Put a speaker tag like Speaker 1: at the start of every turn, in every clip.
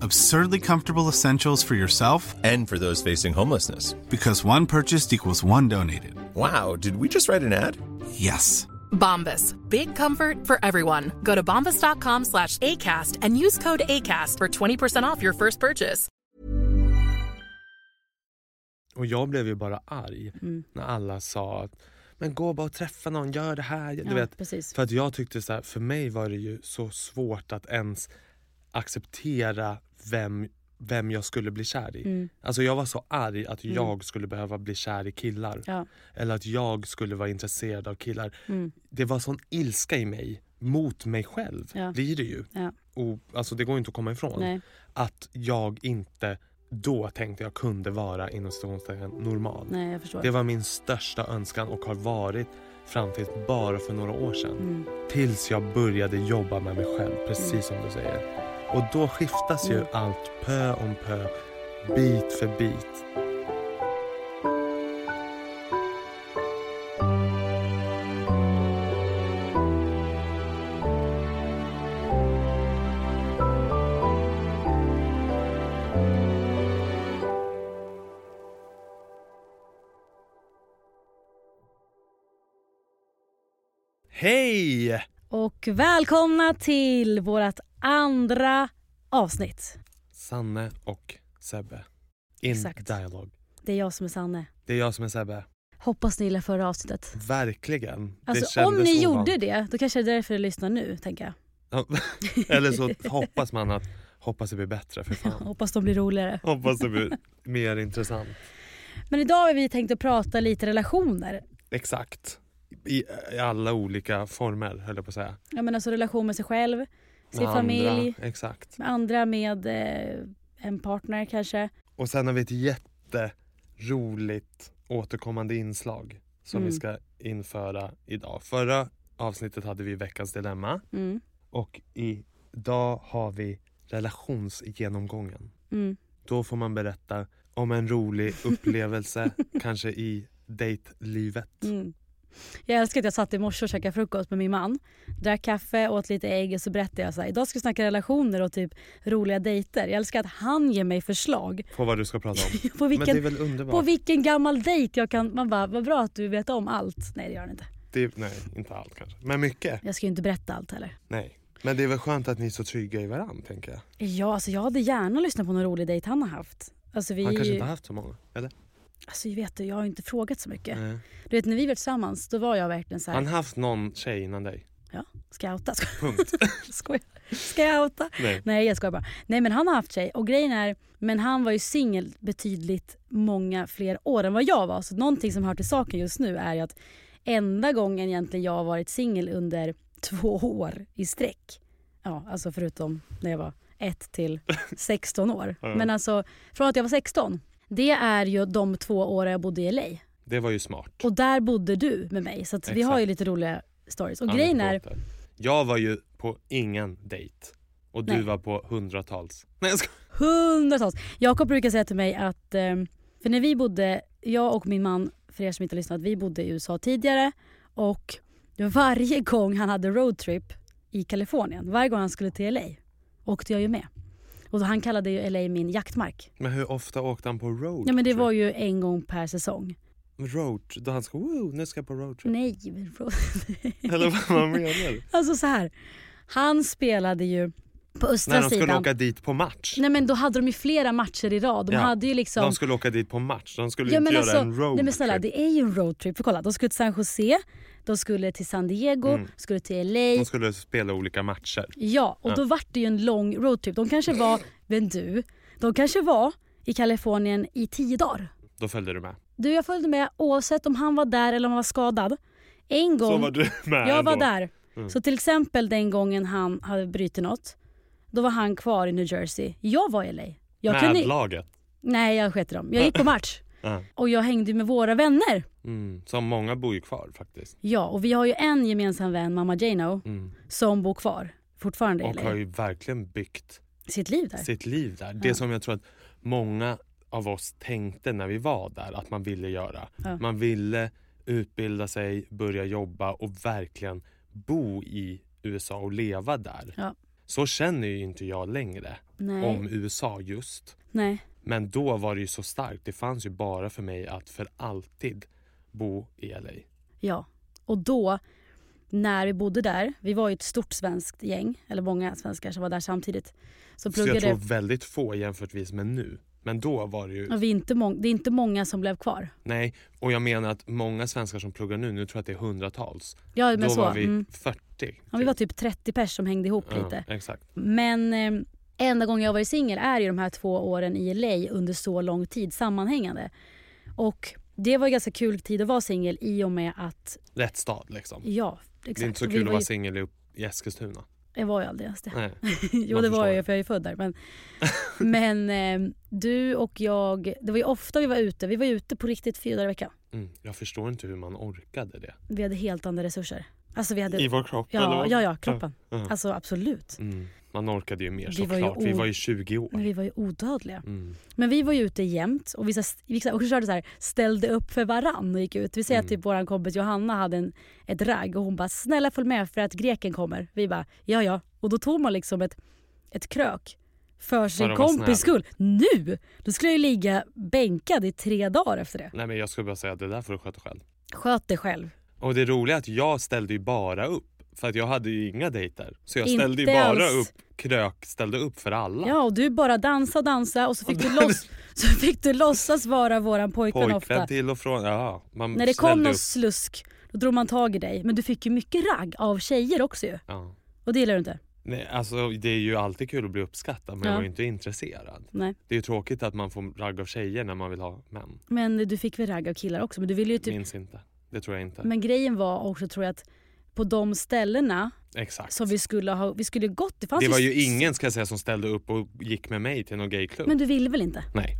Speaker 1: Absurdly comfortable essentials for yourself
Speaker 2: And for those facing homelessness.
Speaker 1: because one purchased equals one donated.
Speaker 2: Wow, did we just write an ad?
Speaker 1: Yes.
Speaker 3: Bombas. Big comfort for everyone. Go to bombas.com slash ACAST and use code ACAST for 20% off your first purchase.
Speaker 4: Och jag blev ju bara arg
Speaker 5: Mm.
Speaker 4: när alla sa att men gå bara och träffa någon, gör det här. Du
Speaker 5: Ja,
Speaker 4: vet,
Speaker 5: precis.
Speaker 4: För att jag tyckte så här, för mig var det ju så svårt att ens acceptera vem, vem jag skulle bli kär i.
Speaker 5: Mm.
Speaker 4: Alltså jag var så arg att jag skulle behöva bli kär i killar.
Speaker 5: Ja. Mm.
Speaker 4: Eller att jag skulle vara intresserad av killar. Det var sån ilska i mig, mot mig själv
Speaker 5: Ja.
Speaker 4: blir det ju.
Speaker 5: Ja.
Speaker 4: Och, alltså det går ju inte att komma ifrån.
Speaker 5: Nej.
Speaker 4: Att jag inte då tänkte jag kunde vara inom citationstecken normal.
Speaker 5: Nej, jag förstår.
Speaker 4: Det var min största önskan och har varit fram till bara för några år sedan.
Speaker 5: Mm.
Speaker 4: Tills jag började jobba med mig själv, precis som du säger. Och då skiftas
Speaker 5: Mm.
Speaker 4: ju allt pö om pö, bit för bit. Hej!
Speaker 5: Och välkomna till vårt andra avsnitt.
Speaker 4: Sanne och Sebbe. In
Speaker 5: Exakt.
Speaker 4: dialog.
Speaker 5: Det är jag som är Sanne.
Speaker 4: Det är jag som är Sebbe.
Speaker 5: Hoppas ni gillar förra avsnittet.
Speaker 4: Verkligen. Det
Speaker 5: Alltså om
Speaker 4: kändes
Speaker 5: ni
Speaker 4: ovant.
Speaker 5: gjorde det, då kanske det är därför ni lyssnar nu, tänker jag.
Speaker 4: Ja, Eller så hoppas man att hoppas det blir bättre för fan.
Speaker 5: Hoppas de blir roligare.
Speaker 4: Hoppas det blir mer intressant.
Speaker 5: Men idag har vi tänkt att prata lite relationer.
Speaker 4: Exakt. I, I alla olika former höll jag på att säga.
Speaker 5: Ja men alltså relation med sig själv, sin
Speaker 4: Med
Speaker 5: familj,
Speaker 4: Andra. Exakt.
Speaker 5: med andra, med eh, en partner kanske.
Speaker 4: Och sen har vi ett jätteroligt återkommande inslag som vi
Speaker 5: Mm.
Speaker 4: ska införa idag. Förra avsnittet hade vi veckans dilemma
Speaker 5: Mm.
Speaker 4: och idag har vi relationsgenomgången.
Speaker 5: Mm.
Speaker 4: Då får man berätta om en rolig upplevelse, kanske i dejtlivet.
Speaker 5: Mm. Jag älskar att jag satt i morse och käkade frukost med min man. Drack kaffe, åt lite ägg och så berättade jag så här, idag ska vi snacka relationer och typ roliga dejter. Jag älskar att han ger mig förslag
Speaker 4: På vad du ska prata om.
Speaker 5: på
Speaker 4: Men det
Speaker 5: vilken,
Speaker 4: är väl underbart?
Speaker 5: på vilken gammal dejt jag kan... Man bara, vad bra att du vet om allt. Nej det gör han inte.
Speaker 4: Det, nej, inte allt kanske. Men mycket.
Speaker 5: Jag ska ju inte berätta allt heller.
Speaker 4: Nej. Men det är väl skönt att ni är så trygga i varandra, tänker jag.
Speaker 5: Ja, alltså jag hade gärna lyssnat på någon rolig dejt han har haft. Alltså vi...
Speaker 4: Han kanske inte har haft så många, eller?
Speaker 5: Alltså jag vet du, jag har inte frågat så mycket.
Speaker 4: Nej.
Speaker 5: Du vet när vi var tillsammans, då var jag verkligen så här,
Speaker 4: Han har haft någon tjej innan dig.
Speaker 5: ja, scouta.
Speaker 4: Punkt.
Speaker 5: Skojar. Scouta.
Speaker 4: Nej.
Speaker 5: Nej jag skojar bara. Nej men han har haft tjej och grejen är, men han var ju singel betydligt många fler år än vad jag var. Så någonting som hör till saken just nu är ju att enda gången egentligen jag har varit singel under två år i sträck. Ja, alltså förutom när jag var 1 till 16 år. Men alltså från att jag var 16. Det är ju de två åren jag bodde i LA.
Speaker 4: Det var ju smart.
Speaker 5: Och där bodde du med mig. Så att vi
Speaker 4: Exakt.
Speaker 5: har ju lite roliga stories. Och grejen är,
Speaker 4: Anekdoter. Jag var ju på ingen dejt. Och du
Speaker 5: Nej.
Speaker 4: var på hundratals. Nej, jag skojar.
Speaker 5: hundratals. Jakob brukar säga till mig att, eh, för när vi bodde, jag och min man, för er som inte har lyssnat, vi bodde i USA tidigare och varje gång han hade roadtrip i Kalifornien, varje gång han skulle till LA, åkte jag ju med. Och då, han kallade ju LA min jaktmark.
Speaker 4: Men hur ofta åkte han på road
Speaker 5: Ja men det
Speaker 4: trip?
Speaker 5: var ju en gång per säsong.
Speaker 4: Road, då han ska, woo, nu ska jag på road trip.
Speaker 5: Nej, men road-
Speaker 4: Eller vad man menar.
Speaker 5: Alltså så här. Han spelade ju På östra
Speaker 4: När de skulle
Speaker 5: sidan.
Speaker 4: åka dit på match.
Speaker 5: Nej men då hade de ju flera matcher i rad. De
Speaker 4: Ja.
Speaker 5: hade ju liksom...
Speaker 4: De skulle åka dit på match. De skulle
Speaker 5: Ja,
Speaker 4: inte
Speaker 5: men
Speaker 4: göra
Speaker 5: alltså,
Speaker 4: en roadtrip.
Speaker 5: nej men snälla, det är ju en roadtrip. För kolla, de skulle till San José, de skulle till San Diego, skulle till LA.
Speaker 4: Mm. De skulle spela olika matcher.
Speaker 5: Ja, och då vart det ju en lång roadtrip. De kanske var, men du, de kanske var i Kalifornien i tio dagar.
Speaker 4: Då följde du med.
Speaker 5: Du, jag följde med oavsett om han var där eller om han var skadad. En gång,
Speaker 4: Så var du med Mm.
Speaker 5: jag var
Speaker 4: ändå.
Speaker 5: där. Så till exempel den gången han hade brutit något, då var han kvar i New Jersey. Jag var i LA. Jag
Speaker 4: med
Speaker 5: kunde-
Speaker 4: laget.
Speaker 5: Nej, jag sket i dem. Jag gick på match.
Speaker 4: Ja.
Speaker 5: Och jag hängde med våra vänner.
Speaker 4: Mm. Som många bor ju kvar faktiskt.
Speaker 5: Ja, och vi har ju en gemensam vän, mamma Jano, som bor kvar fortfarande i
Speaker 4: Mm. Och har
Speaker 5: LA.
Speaker 4: ju verkligen byggt
Speaker 5: Sitt liv där.
Speaker 4: sitt liv där. Det som jag tror att många av oss tänkte när vi var där att man ville göra. Man ville utbilda sig, börja jobba och verkligen bo i USA och leva där.
Speaker 5: Ja.
Speaker 4: Så känner ju inte jag längre
Speaker 5: Nej.
Speaker 4: om USA just.
Speaker 5: Nej.
Speaker 4: Men då var det ju så starkt. Det fanns ju bara för mig att för alltid bo i LA.
Speaker 5: Ja. Och då, när vi bodde där, vi var ju ett stort svenskt gäng, eller många svenskar som var där samtidigt.
Speaker 4: Så
Speaker 5: Så pluggade...
Speaker 4: jag tror väldigt få jämförtvis med nu. Men då var det ju...
Speaker 5: och vi är inte mång... Det är inte många som blev kvar.
Speaker 4: Nej, och jag menar att många svenskar som pluggar nu, nu tror jag att det är hundratals.
Speaker 5: Ja, men
Speaker 4: då
Speaker 5: så.
Speaker 4: var vi
Speaker 5: Mm.
Speaker 4: 40.
Speaker 5: Ja, vi var typ 30 pers som hängde ihop lite.
Speaker 4: Ja, exakt.
Speaker 5: Men eh, enda gången jag har varit singel är ju de här två åren i LA under så lång tid sammanhängande. Och det var ju ganska kul tid att vara singel i och med att,
Speaker 4: Rätt stad liksom.
Speaker 5: ja exakt.
Speaker 4: Det är inte så
Speaker 5: Vi
Speaker 4: kul att
Speaker 5: var
Speaker 4: vara
Speaker 5: ju-
Speaker 4: singel i, i Eskilstuna.
Speaker 5: Jag var ju aldrig ens det.
Speaker 4: Nej. man
Speaker 5: jo det var
Speaker 4: förstår
Speaker 5: jag
Speaker 4: det.
Speaker 5: ju för jag är född där. Men, men eh, du och jag, det var ju ofta vi var ute. Vi var ju ute på riktigt fyra dagar i veckan.
Speaker 4: Mm. Jag förstår inte hur man orkade det.
Speaker 5: Vi hade helt andra resurser. Alltså vi hade...
Speaker 4: I vår kropp? eller
Speaker 5: ja,
Speaker 4: vad?
Speaker 5: ja, ja, kroppen.
Speaker 4: Ja.
Speaker 5: Alltså absolut.
Speaker 4: Mm. Man orkade ju mer
Speaker 5: Vi var ju
Speaker 4: såklart. Vi
Speaker 5: o-
Speaker 4: var ju 20 år.
Speaker 5: Men vi var ju odödliga.
Speaker 4: Mm.
Speaker 5: Men vi var ju ute jämt och vi, så, vi så, och körde så här, ställde upp för varann och gick ut. Vi säger att
Speaker 4: Mm.
Speaker 5: typ vår kompis Johanna hade en, ett ragg och hon bara “snälla följ med för att greken kommer”. Vi bara “ja ja” och då tog man liksom ett, ett krök för sin
Speaker 4: att vara snäll.
Speaker 5: kompis skull. Nu! Då skulle jag ju ligga bänkad i tre dagar efter det.
Speaker 4: Nej men jag skulle bara säga att det där får du sköta själv.
Speaker 5: Sköt dig själv.
Speaker 4: Och det roliga är att jag ställde ju bara upp. För att jag hade ju inga dejter. Så jag
Speaker 5: Inte
Speaker 4: ställde ju bara
Speaker 5: alls.
Speaker 4: upp, krök, ställde upp för alla.
Speaker 5: Ja och du bara dansa dansa och så fick, du, loss, så fick du låtsas vara våran pojkvän, ofta.
Speaker 4: Pojkvän till och från. Ja, man
Speaker 5: När det kom
Speaker 4: ställde
Speaker 5: någon
Speaker 4: upp.
Speaker 5: slusk då drog man tag i dig. Men du fick ju mycket ragg av tjejer också ju.
Speaker 4: Ja.
Speaker 5: Och det gillar du inte?
Speaker 4: Nej, alltså, det är ju alltid kul att bli uppskattad men
Speaker 5: Ja.
Speaker 4: jag var ju inte intresserad.
Speaker 5: Nej.
Speaker 4: Det är ju tråkigt att man får ragg av tjejer när man vill ha män.
Speaker 5: Men du fick väl ragg av killar också? Men, du ville ju typ...
Speaker 4: Minns inte. Det tror jag inte.
Speaker 5: men grejen var också tror jag att på de ställena
Speaker 4: Exakt.
Speaker 5: som vi skulle ha, vi skulle gått, det fanns
Speaker 4: det var ju ingen ska jag säga som ställde upp och gick med mig till någon gayklubb.
Speaker 5: Men du ville väl inte?
Speaker 4: Nej.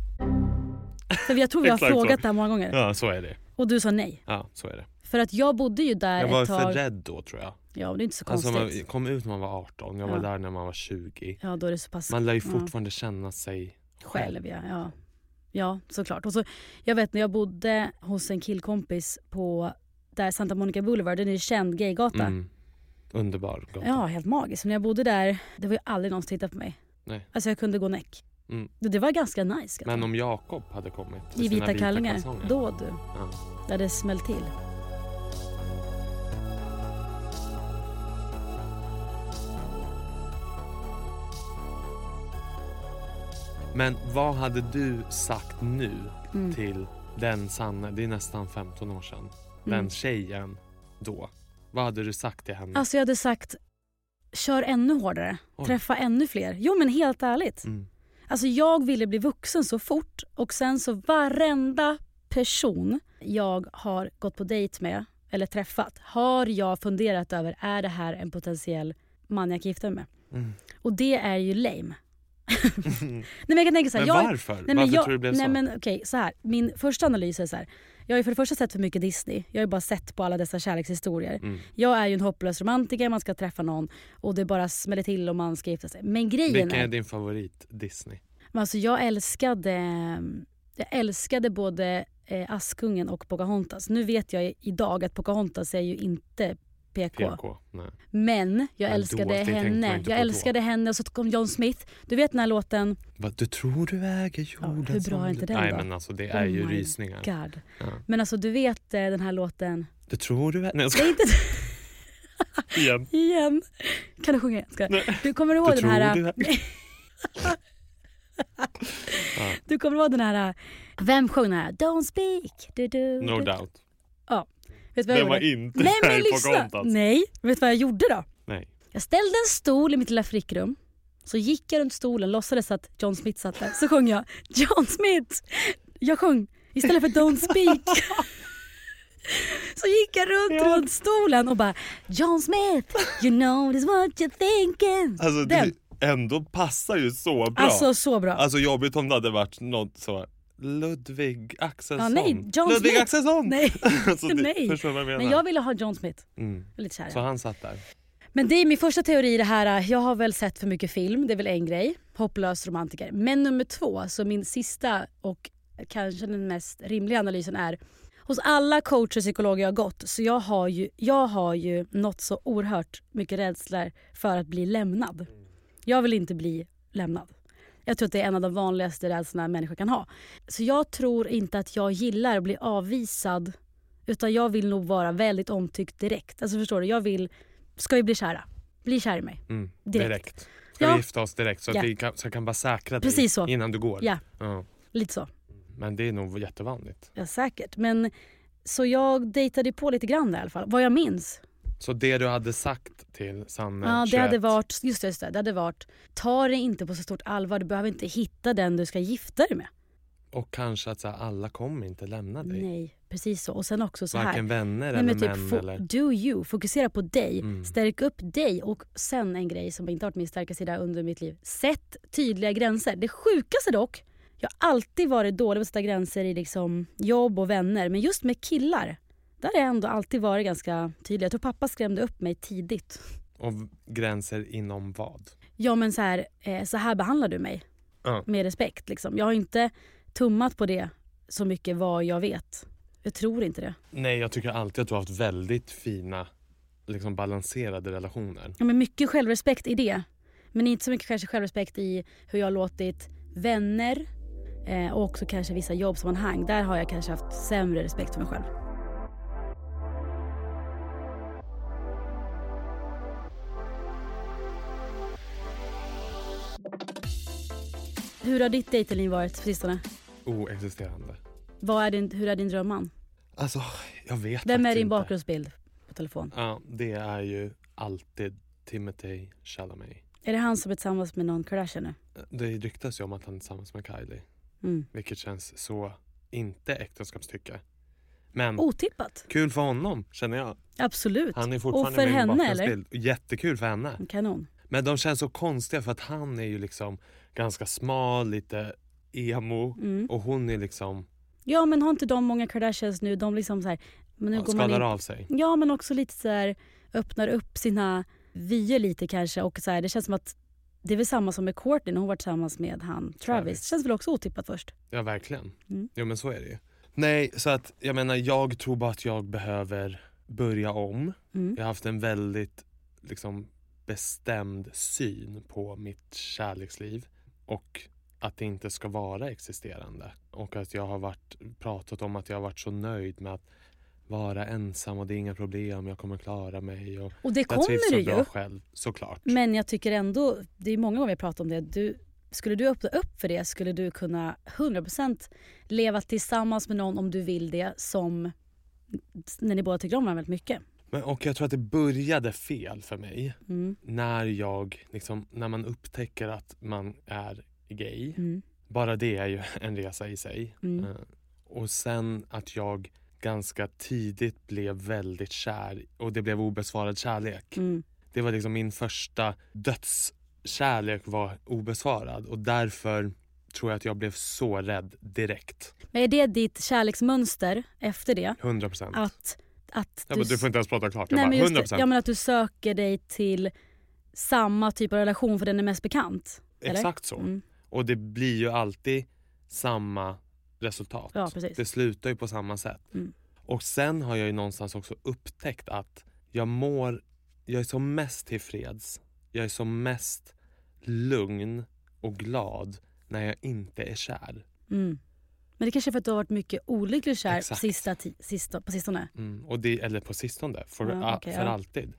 Speaker 5: För jag tror vi har
Speaker 4: Exakt så.
Speaker 5: frågat det här många gånger.
Speaker 4: Ja, så är det.
Speaker 5: Och du sa nej.
Speaker 4: Ja, så är det.
Speaker 5: För att jag bodde ju där
Speaker 4: Jag var
Speaker 5: ett tag.
Speaker 4: för rädd då tror jag.
Speaker 5: Ja, det är inte så
Speaker 4: Alltså
Speaker 5: konstigt.
Speaker 4: man kom ut när man var 18, jag
Speaker 5: Ja.
Speaker 4: var där när man var 20.
Speaker 5: Ja, då är det så pass
Speaker 4: Man lär ju fortfarande känna sig
Speaker 5: själv. Ja, ja. ja såklart. Och så, jag vet när jag bodde hos en killkompis på där Santa Monica Boulevard, den är ju känd gaygata.
Speaker 4: Mm. Underbar gata.
Speaker 5: Ja, helt magiskt. När jag bodde där, det var ju aldrig någon som tittade på mig.
Speaker 4: Nej.
Speaker 5: Alltså jag kunde gå näck.
Speaker 4: Mm.
Speaker 5: Det det var ganska nice.
Speaker 4: Men om Jakob hade kommit
Speaker 5: I
Speaker 4: sina
Speaker 5: vita kallingar.
Speaker 4: kalsonger.
Speaker 5: Då du.
Speaker 4: Ja.
Speaker 5: Där det smäll till.
Speaker 4: Men vad hade du sagt nu
Speaker 5: Mm.
Speaker 4: till den Sanne, det är nästan 15 år sedan, den tjejen då? Vad hade du sagt till henne?
Speaker 5: Mm. Alltså jag hade sagt, kör ännu hårdare.
Speaker 4: Oj.
Speaker 5: Träffa ännu fler. Jo men helt ärligt.
Speaker 4: Mm.
Speaker 5: Alltså jag ville bli vuxen så fort och sen så varenda person jag har gått på dejt med eller träffat har jag funderat över, är det här en potentiell man jag kan gifta mig med?
Speaker 4: Mm.
Speaker 5: Och det är ju lame. nej men jag kan tänka så här,
Speaker 4: men
Speaker 5: jag,
Speaker 4: varför?
Speaker 5: Nej, men
Speaker 4: varför
Speaker 5: jag,
Speaker 4: tror du det blev
Speaker 5: nej,
Speaker 4: så?
Speaker 5: Men, okej, så här. Min första analys är så här. Jag har ju för det första sett för mycket Disney. Jag har ju bara sett på alla dessa kärlekshistorier.
Speaker 4: Mm.
Speaker 5: Jag är ju en hopplös romantiker, man ska träffa någon och det bara smäller till och man ska gifta sig. Men grejen
Speaker 4: Vilken
Speaker 5: är,
Speaker 4: är din favorit Disney?
Speaker 5: men alltså jag älskade, jag älskade både eh, Askungen och Pocahontas. Nu vet jag i- idag att Pocahontas är ju inte PK.
Speaker 4: PK? Nej.
Speaker 5: Men
Speaker 4: Men
Speaker 5: jag
Speaker 4: då,
Speaker 5: älskade
Speaker 4: det tänkte man
Speaker 5: henne.
Speaker 4: inte
Speaker 5: Jag
Speaker 4: på då.
Speaker 5: älskade henne och så kom John Smith. Du vet den här låten
Speaker 4: Vad, du tror du äger jorden
Speaker 5: hur bra
Speaker 4: som
Speaker 5: är
Speaker 4: du-
Speaker 5: inte den
Speaker 4: Nej
Speaker 5: då? Oh
Speaker 4: men alltså det är ju
Speaker 5: my
Speaker 4: rysningar.
Speaker 5: God.
Speaker 4: Ja.
Speaker 5: Men alltså du vet eh, den här låten
Speaker 4: Du tror du äger... Nej jag
Speaker 5: Det
Speaker 4: skojar.
Speaker 5: är inte...
Speaker 4: igen.
Speaker 5: igen. Kan du sjunga igen? Ska jag?
Speaker 4: Nej.
Speaker 5: Du kommer ihåg
Speaker 4: Du
Speaker 5: den
Speaker 4: tror
Speaker 5: här...
Speaker 4: det här.
Speaker 5: Du kommer ihåg den här... Vem sjöng den här? Don't speak. Du, du,
Speaker 4: No
Speaker 5: du.
Speaker 4: doubt.
Speaker 5: Ja. Vet du vad jag
Speaker 4: Den var
Speaker 5: gjorde?
Speaker 4: inte
Speaker 5: Nej men
Speaker 4: här i
Speaker 5: lyssna!
Speaker 4: Pocahontas.
Speaker 5: Nej, vet du vad jag gjorde då?
Speaker 4: Nej.
Speaker 5: Jag ställde en stol i mitt lilla flickrum. Så gick jag runt stolen, låtsades att John Smith satt där. Så sjöng jag John Smith. Jag sjöng istället för Don't speak. Så gick jag runt, runt stolen och bara John Smith, you know this what you're thinking.
Speaker 4: Alltså
Speaker 5: Den.
Speaker 4: det ändå passar ju så bra.
Speaker 5: Alltså så bra.
Speaker 4: Alltså jobbigt om det hade varit något så Ludvig Axelsson.
Speaker 5: Ja, nej, John
Speaker 4: Ludvig
Speaker 5: Smith.
Speaker 4: Axelsson!
Speaker 5: Nej.
Speaker 4: alltså, det,
Speaker 5: Nej.
Speaker 4: Förstår du vad jag menar?
Speaker 5: Men jag ville ha John Smith.
Speaker 4: Mm.
Speaker 5: Jag är Lite kär.
Speaker 4: Så han satt där.
Speaker 5: Men det är min första teori det här, äh, jag har väl sett för mycket film, det är väl en grej. Hopplös romantiker. Men nummer två, så min sista och kanske den mest rimliga analysen är Hos alla coacher och psykologer jag har gått så jag har ju, jag har ju nått så oerhört mycket rädslor för att bli lämnad. Jag vill inte bli lämnad. Jag tror att det är en av de vanligaste rädslorna människor kan ha. Så jag tror inte att jag gillar att bli avvisad utan jag vill nog vara väldigt omtyckt direkt. Alltså förstår du, jag vill, ska ju bli kära. Bli kär i mig.
Speaker 4: Mm.
Speaker 5: Direkt.
Speaker 4: Ska
Speaker 5: Ja.
Speaker 4: vi gifta oss direkt så att
Speaker 5: Ja.
Speaker 4: vi kan, så jag kan bara säkra dig
Speaker 5: Precis så.
Speaker 4: innan du går?
Speaker 5: Ja.
Speaker 4: Ja.
Speaker 5: Lite så.
Speaker 4: Men det är nog jättevanligt.
Speaker 5: Ja, säkert. Men så jag dejtade på lite grann där i alla fall, vad jag minns.
Speaker 4: Så det du hade sagt till Sanne,
Speaker 5: Ja, det
Speaker 4: 21,
Speaker 5: hade varit, just det, just det, det hade varit, ta det inte på så stort allvar, du behöver inte hitta den du ska gifta dig med.
Speaker 4: och kanske att så här, alla kommer inte lämna dig.
Speaker 5: Nej, precis så. Och sen också så här.
Speaker 4: Varken vänner
Speaker 5: Nej,
Speaker 4: eller
Speaker 5: men typ,
Speaker 4: män.
Speaker 5: fo-
Speaker 4: eller... Mm.
Speaker 5: do you, fokusera på dig, stärk upp dig och sen en grej som inte har varit min starka sida under mitt liv. Sätt tydliga gränser. Det sjukaste dock, jag har alltid varit dålig på att sätta gränser i liksom jobb och vänner men just med killar, där har jag ändå alltid varit ganska tydlig. Jag tror pappa skrämde upp mig tidigt.
Speaker 4: Och v- gränser inom vad?
Speaker 5: Ja men så här, eh, så här behandlar du mig.
Speaker 4: Ja.
Speaker 5: Med respekt liksom. Jag har inte tummat på det så mycket vad jag vet. Jag tror inte det.
Speaker 4: Nej, jag tycker alltid att du har haft väldigt fina, liksom balanserade relationer.
Speaker 5: Ja, men mycket självrespekt i det. Men inte så mycket kanske självrespekt i hur jag har låtit vänner eh, och också kanske vissa jobbsammanhang. Där har jag kanske haft sämre respekt för mig själv. Hur har ditt dejtingliv varit på sistone?
Speaker 4: Oexisterande.
Speaker 5: Vad är din, hur är din drömman?
Speaker 4: Alltså, jag vet
Speaker 5: Vem är
Speaker 4: faktiskt
Speaker 5: din
Speaker 4: inte.
Speaker 5: bakgrundsbild på telefon?
Speaker 4: Ja, det är ju alltid Timothy Chalamet.
Speaker 5: Är det han som är tillsammans med någon Kardashian nu?
Speaker 4: Det ryktas ju om att han är tillsammans med Kylie,
Speaker 5: Mm.
Speaker 4: vilket känns så inte äktenskapstycke. Men
Speaker 5: Otippat.
Speaker 4: kul för honom, känner jag.
Speaker 5: Absolut.
Speaker 4: Han är fortfarande
Speaker 5: Oh. och för
Speaker 4: min
Speaker 5: henne eller?
Speaker 4: bakgrundsbild. Jättekul för henne.
Speaker 5: Kanon.
Speaker 4: Men de känns så konstiga för att han är ju liksom ganska smal, lite emo
Speaker 5: Mm.
Speaker 4: och hon är liksom
Speaker 5: Ja men har inte de många Kardashians nu, de liksom så här, men nu går man
Speaker 4: skalar
Speaker 5: in,
Speaker 4: av sig.
Speaker 5: Ja men också lite så här öppnar upp sina vyer lite kanske och så här, det känns som att det är väl samma som med Courtney när hon var tillsammans med han Travis.
Speaker 4: Travis.
Speaker 5: Det känns väl också otippat först.
Speaker 4: Ja, verkligen.
Speaker 5: Mm.
Speaker 4: Jo, men så är det ju. Nej, så att jag menar, jag tror bara att jag behöver börja om.
Speaker 5: Mm.
Speaker 4: Jag har haft en väldigt liksom, bestämd syn på mitt kärleksliv och att det inte ska vara existerande. Och att jag har varit, pratat om att jag har varit så nöjd med att vara ensam och det är inga problem, jag kommer klara mig. Och
Speaker 5: Och det
Speaker 4: jag trivs
Speaker 5: kommer
Speaker 4: så
Speaker 5: du
Speaker 4: bra
Speaker 5: ju.
Speaker 4: själv, såklart.
Speaker 5: Men jag tycker ändå, det är många gånger vi pratar om det, du, skulle du öppna upp för det skulle du kunna 100% leva tillsammans med någon om du vill det som när ni båda tycker om varandra väldigt mycket.
Speaker 4: Men, och jag tror att det började fel för mig.
Speaker 5: Mm.
Speaker 4: när jag liksom, när man upptäcker att man är gay.
Speaker 5: Mm.
Speaker 4: Bara det är ju en resa i sig.
Speaker 5: Mm.
Speaker 4: Eh, Och sen att jag ganska tidigt blev väldigt kär och det blev obesvarad kärlek.
Speaker 5: Mm.
Speaker 4: Det var liksom min första dödskärlek var obesvarad och därför tror jag att jag blev så rädd direkt.
Speaker 5: Men är det ditt kärleksmönster efter det?
Speaker 4: 100 procent.
Speaker 5: Att, att
Speaker 4: Ja, men du får inte ens prata klart. Jag
Speaker 5: Nej, men
Speaker 4: bara,
Speaker 5: just
Speaker 4: 100
Speaker 5: det. Ja, men att du söker dig till samma typ av relation för den är mest bekant? eller?
Speaker 4: Exakt så.
Speaker 5: Mm.
Speaker 4: Och det blir ju alltid samma resultat.
Speaker 5: Ja, precis.
Speaker 4: Det slutar ju på samma sätt.
Speaker 5: Mm.
Speaker 4: Och sen har jag ju någonstans också upptäckt att jag mår, jag är som mest tillfreds, jag är som mest lugn och glad när jag inte är kär.
Speaker 5: Mm. Men det kanske är för att du har varit mycket olycklig kär
Speaker 4: Exakt.
Speaker 5: sista, ti- sista, på sistone?
Speaker 4: Mm. Och det, eller på sistone, för,
Speaker 5: Ja, okej,
Speaker 4: för
Speaker 5: ja.
Speaker 4: alltid.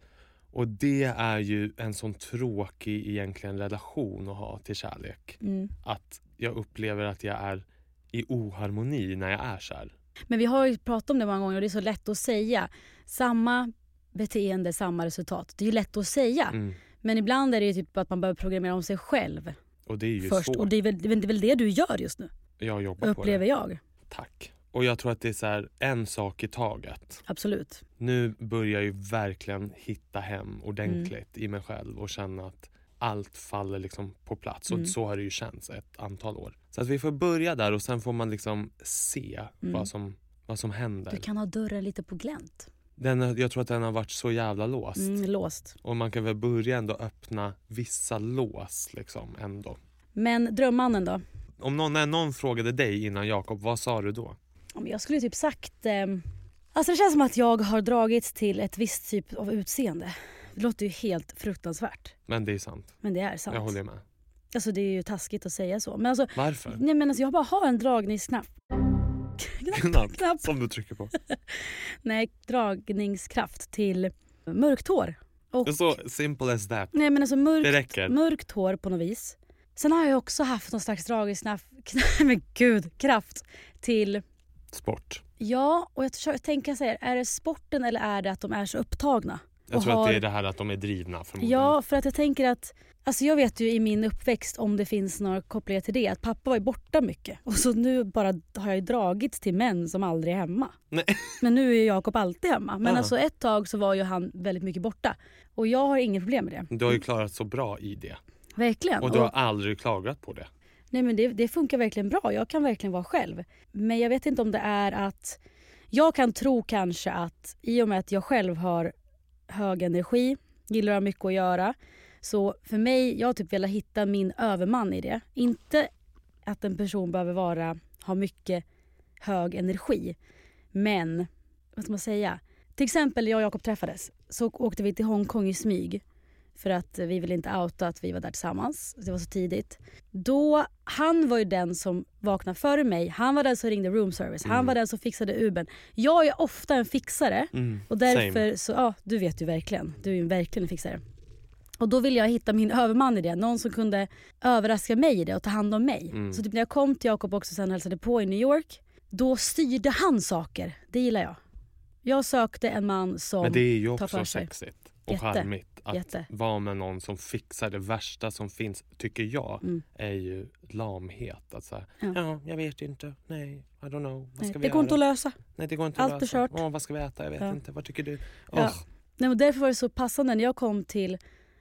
Speaker 4: Och det är ju en sån tråkig egentligen relation att ha till kärlek.
Speaker 5: Mm.
Speaker 4: Att jag upplever att jag är i oharmoni när jag är kär.
Speaker 5: Men vi har ju pratat om det många gånger och det är så lätt att säga. Samma beteende, samma resultat. Det är ju lätt att säga.
Speaker 4: Mm.
Speaker 5: Men ibland är det ju typ att man behöver programmera om sig själv
Speaker 4: Och det är ju
Speaker 5: först.
Speaker 4: svårt.
Speaker 5: Och det är, väl, det är väl det du gör just nu,
Speaker 4: Jag jobbar på
Speaker 5: upplever
Speaker 4: det.
Speaker 5: jag.
Speaker 4: Tack. Och jag tror att det är så här, en sak i taget.
Speaker 5: Absolut.
Speaker 4: Nu börjar jag ju verkligen hitta hem ordentligt
Speaker 5: Mm.
Speaker 4: i mig själv och känna att allt faller liksom på plats. Och
Speaker 5: Mm.
Speaker 4: så har det ju känts ett antal år. Så att vi får börja där och sen får man liksom se vad, som, vad som händer.
Speaker 5: Du Mm. kan ha dörren lite på glänt.
Speaker 4: Den, har- jag tror att den har varit så jävla låst.
Speaker 5: Mm, låst.
Speaker 4: Och man kan väl börja ändå öppna vissa lås liksom ändå.
Speaker 5: Men drömmannen då?
Speaker 4: Om någon, när någon frågade dig innan Jakob, vad sa du då?
Speaker 5: Ja, men Jag skulle typ sagt... ehm, alltså det känns som att jag har dragits till ett visst typ av utseende. Det låter ju helt fruktansvärt.
Speaker 4: Men det är sant.
Speaker 5: Men det är sant.
Speaker 4: Jag håller med.
Speaker 5: Alltså det är ju taskigt att säga så. Men alltså,
Speaker 4: Varför?
Speaker 5: nej, men alltså jag bara har en dragningsknapp. Knapp,
Speaker 4: Knapp.
Speaker 5: knapp.
Speaker 4: Som du trycker på.
Speaker 5: Nej, dragningskraft till mörkt hår. Och,
Speaker 4: Så simple as that.
Speaker 5: nej men alltså
Speaker 4: Det
Speaker 5: mörkt,
Speaker 4: räcker.
Speaker 5: mörkt hår på något vis. Sen har jag också haft någon slags dragningsknapp, men gud, kraft till
Speaker 4: Sport.
Speaker 5: Ja, och jag försöker tänka så här, är det sporten eller är det att de är så upptagna?
Speaker 4: Jag
Speaker 5: och
Speaker 4: tror
Speaker 5: har-
Speaker 4: att det är det här att de är drivna förmodligen.
Speaker 5: Ja, för att jag tänker att, alltså jag vet ju i min uppväxt om det finns några kopplingar till det, att pappa var ju borta mycket. Och så nu bara har jag ju dragits till män som aldrig är hemma.
Speaker 4: Nej.
Speaker 5: Men nu är ju Jakob alltid hemma. Men
Speaker 4: Ja.
Speaker 5: alltså ett tag så var ju han väldigt mycket borta. Och jag har inget problem med det.
Speaker 4: Du har ju klarat så bra i det.
Speaker 5: Verkligen.
Speaker 4: Och du har aldrig klagat på det.
Speaker 5: Nej men det, det funkar verkligen bra. Jag kan verkligen vara själv. Men jag vet inte om det är att... Jag kan tro kanske att i och med att jag själv har hög energi, gillar att ha mycket att göra. Så för mig, jag har typ velat hitta min överman i det. Inte att en person behöver vara, ha mycket hög energi. Men, vad ska man säga? Till exempel jag och Jakob träffades så åkte vi till Hongkong i smyg. För att eh, vi ville inte outa att vi var där tillsammans. Det var så tidigt då, han var ju den som vaknade före mig. Han var den som ringde room service. Han var den som fixade Uben. Jag är ofta en fixare. och därför så, ja du vet ju verkligen. Du är ju verkligen en fixare. Och då ville jag hitta min överman i det. Någon som kunde överraska mig i det och ta hand om mig. Så typ när jag kom till Jakob också sen och hälsade på i New York. Då styrde han saker. Det gillar jag. Jag sökte en man som
Speaker 4: Men det är ju
Speaker 5: tar för
Speaker 4: också
Speaker 5: sig.
Speaker 4: sexigt och
Speaker 5: Jätte.
Speaker 4: charmigt att
Speaker 5: Jätte.
Speaker 4: vara med någon som fixar det värsta som finns, tycker jag,
Speaker 5: Mm.
Speaker 4: är ju lamhet. Att så här, ja. jag vet inte, nej, I don't know, vad
Speaker 5: Nej,
Speaker 4: ska vi
Speaker 5: det går
Speaker 4: göra?
Speaker 5: inte att lösa.
Speaker 4: Nej, det går inte
Speaker 5: Allt
Speaker 4: att
Speaker 5: är
Speaker 4: lösa.
Speaker 5: kört.
Speaker 4: Åh, vad ska vi äta? Jag vet
Speaker 5: Ja.
Speaker 4: inte, vad tycker du?
Speaker 5: Ja.
Speaker 4: Åh,
Speaker 5: Nej, men därför var det så passande när jag kom till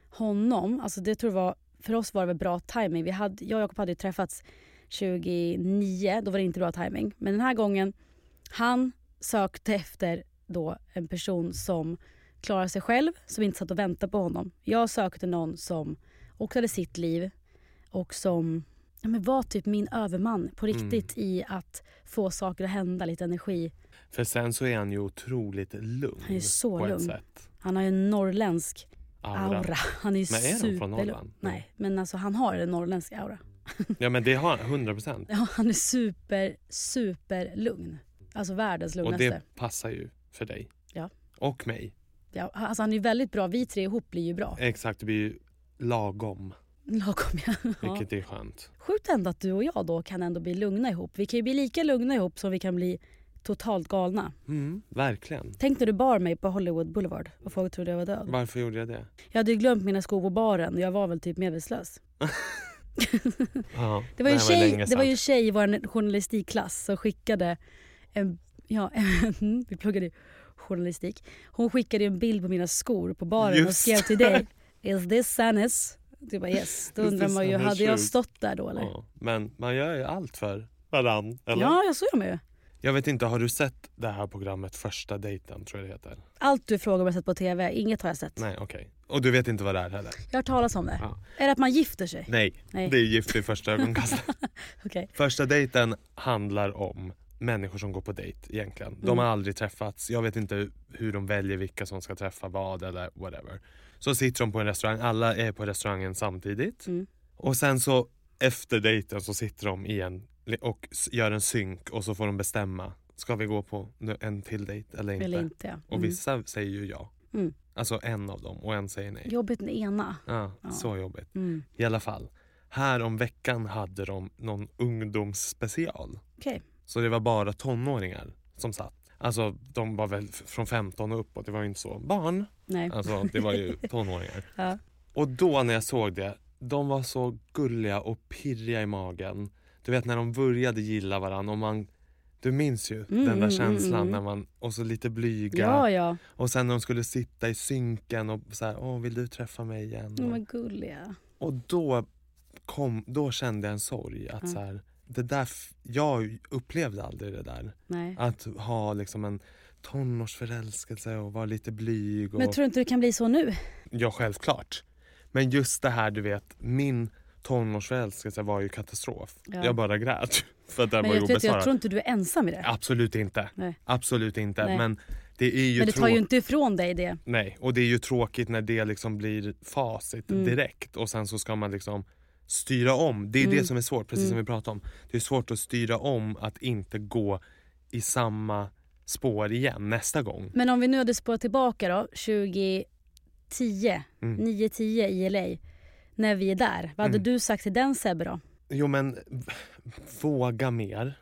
Speaker 5: honom. Alltså det tror jag var, för oss var det väl bra timing. Vi hade, jag och Jakob hade ju träffats 2009, då var det inte bra timing. Men den här gången, han sökte efter då en person som klarar sig själv, som inte satt och väntade på honom. Jag sökte någon som också hade sitt liv och som ja, men var typ min överman på
Speaker 4: Mm.
Speaker 5: riktigt i att få saker att hända, lite energi.
Speaker 4: För sen så är han ju otroligt lugn
Speaker 5: Han är så
Speaker 4: på ett
Speaker 5: lugn.
Speaker 4: sätt.
Speaker 5: Han har ju en norrländsk aura. Han är ju
Speaker 4: Men är han från
Speaker 5: superlugn.
Speaker 4: Norrland?
Speaker 5: Nej, men alltså han har en norrländsk aura.
Speaker 4: Ja, men det har han, 100 procent.
Speaker 5: Ja, han är super, super lugn. Alltså världens
Speaker 4: Och
Speaker 5: lugnaste.
Speaker 4: det passar ju för dig.
Speaker 5: Ja.
Speaker 4: Och mig.
Speaker 5: Ja, alltså han är ju väldigt bra. Vi tre ihop blir ju bra.
Speaker 4: Exakt, det blir ju lagom,
Speaker 5: Lagom ja. ja.
Speaker 4: vilket är skönt.
Speaker 5: Sjukt ändå att du och jag då kan ändå bli lugna ihop. Vi kan ju bli lika lugna ihop som vi kan bli totalt galna.
Speaker 4: Mm, verkligen.
Speaker 5: Tänk när du bar mig på Hollywood Boulevard och folk trodde jag var död.
Speaker 4: Varför gjorde jag det?
Speaker 5: Jag hade ju glömt mina skor på baren och jag var väl typ medvetslös.
Speaker 4: Ja,
Speaker 5: Det var ju
Speaker 4: här
Speaker 5: tjej,
Speaker 4: länge
Speaker 5: det var
Speaker 4: sedan.
Speaker 5: ju tjej i vår journalistikklass som skickade en, ja, mm, vi pluggade ju journalistik. Hon skickade ju en bild på mina skor på baren och
Speaker 4: Just
Speaker 5: skrev till
Speaker 4: det.
Speaker 5: dig. Is this Sannes? Du bara yes. Då
Speaker 4: Is
Speaker 5: undrar
Speaker 4: this
Speaker 5: man ju,
Speaker 4: Sannes
Speaker 5: hade jag
Speaker 4: sjuk?
Speaker 5: stått där då eller?
Speaker 4: Ja, men man gör ju allt för varann. Eller?
Speaker 5: Ja, jag såg jag med.
Speaker 4: Jag vet inte, har du sett det här programmet Första dejten tror jag det heter?
Speaker 5: Allt du frågar om jag sett på TV, inget har jag sett.
Speaker 4: Nej, okej. Och du vet inte vad det är heller?
Speaker 5: Jag har hört talas om det.
Speaker 4: Ja.
Speaker 5: Är det att man gifter sig?
Speaker 4: Nej,
Speaker 5: Nej.
Speaker 4: det är Gift i första ögonkastet.
Speaker 5: Okej.
Speaker 4: första dejten handlar om människor som går på dejt egentligen. De har aldrig träffats. Jag vet inte hur de väljer vilka som ska träffa vad eller whatever. Så sitter de på en restaurang. Alla är på restaurangen samtidigt. Och sen så efter dejten så sitter de igen och s- gör en synk och så får de bestämma. Ska vi gå på nu- en till dejt eller inte? Mm.
Speaker 5: Eller inte ja.
Speaker 4: Och vissa säger ju ja.
Speaker 5: Mm.
Speaker 4: Alltså en av dem och en säger nej.
Speaker 5: Jobbigt med ena. Mm.
Speaker 4: Ja, Så jobbigt. I alla fall. Här om veckan hade de någon ungdomsspecial.
Speaker 5: Okej.
Speaker 4: Så det var bara tonåringar som satt. Alltså de var väl f- från 15 och uppåt. Det var ju inte så barn.
Speaker 5: Nej.
Speaker 4: Alltså det var ju tonåringar.
Speaker 5: Ja.
Speaker 4: Och då när jag såg det, de var så gulliga och pirriga i magen. Du vet när de började gilla varandra och man du minns ju den där känslan när man, och så lite blyga
Speaker 5: Mm, Ja, ja.
Speaker 4: och sen när de skulle sitta i synken och så här, åh vill du träffa mig igen?
Speaker 5: De
Speaker 4: Och-
Speaker 5: var gulliga.
Speaker 4: och då, kom, då kände jag en sorg.
Speaker 5: Mm.
Speaker 4: Att så här, det där, f- jag upplevde aldrig det där.
Speaker 5: Nej.
Speaker 4: Att ha liksom en tonårsförälskelse och vara lite blyg. Och,
Speaker 5: Men tror du inte det kan bli så nu?
Speaker 4: Ja, självklart. Men just det här, du vet, min tonårsförälskelse var ju katastrof.
Speaker 5: Ja.
Speaker 4: Jag bara grät. För att den
Speaker 5: Men
Speaker 4: var ju
Speaker 5: jag, vet, jag
Speaker 4: obesvarad.
Speaker 5: tror inte du är ensam i det.
Speaker 4: Absolut inte.
Speaker 5: Nej.
Speaker 4: Absolut inte.
Speaker 5: Nej.
Speaker 4: Men det är ju
Speaker 5: Men det tar
Speaker 4: tråkigt.
Speaker 5: ju inte ifrån dig det.
Speaker 4: Nej, och det är ju tråkigt när det liksom blir facit direkt och sen så ska man liksom styra om. Det är det som är svårt, precis som vi pratade om. Det är svårt att styra om att inte gå i samma spår igen nästa gång.
Speaker 5: Men om vi nu hade spårat tillbaka då, 2010,
Speaker 4: Mm.
Speaker 5: 9-10 i LA, när vi är där. Vad hade du sagt till den Sebbe då?
Speaker 4: Jo men v- våga mer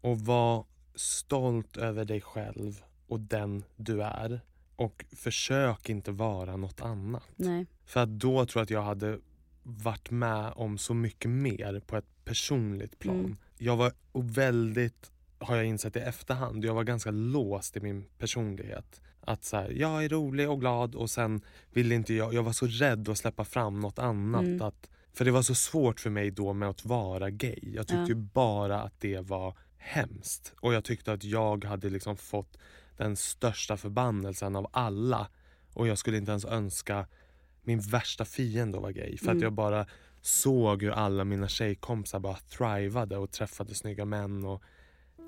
Speaker 4: och var stolt över dig själv och den du är. Och försök inte vara något annat.
Speaker 5: Nej.
Speaker 4: För att då tror jag att jag hade varit med om så mycket mer på ett personligt plan. Jag var och väldigt, har jag insett i efterhand, jag var ganska låst i min personlighet. Att så här, jag är rolig och glad och sen ville inte jag, jag var så rädd att släppa fram något annat. Att, för det var så svårt för mig då med att vara gay. Jag tyckte ju bara att det var hemskt. Och jag tyckte att jag hade liksom fått den största förbannelsen av alla. Och jag skulle inte ens önska min värsta fiende att vara gay. För att
Speaker 5: Mm.
Speaker 4: jag bara såg hur alla mina tjejkompisar bara thrivade och träffade snygga män. Och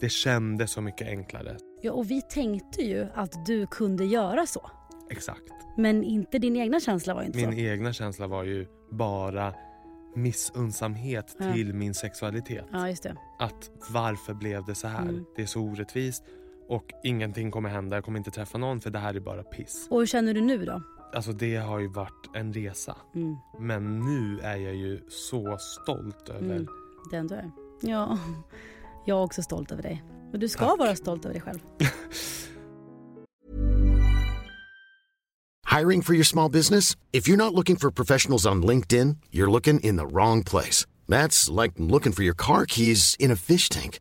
Speaker 4: det kändes så mycket enklare.
Speaker 5: Ja, och vi tänkte ju att du kunde göra så.
Speaker 4: Exakt.
Speaker 5: Men inte din egna känsla var ju inte
Speaker 4: Min e-
Speaker 5: så.
Speaker 4: egna känsla var ju bara missunnsamhet
Speaker 5: Ja.
Speaker 4: till min sexualitet.
Speaker 5: Ja, Mm. just det.
Speaker 4: Att varför blev det så här? Det är så orättvist och ingenting kommer hända. Jag kommer inte träffa någon för det här är bara piss.
Speaker 5: Och hur känner du nu då?
Speaker 4: Alltså det har ju varit en resa.
Speaker 5: Mm.
Speaker 4: Men nu är jag ju så stolt över
Speaker 5: Mm. Den du är. Ja, jag är också stolt över dig. Men du ska
Speaker 4: Tack.
Speaker 5: vara stolt över dig själv.
Speaker 6: Hiring for your small business? If you're not looking for professionals on LinkedIn, you're looking in the wrong place. That's like looking for your car keys in a fish tank.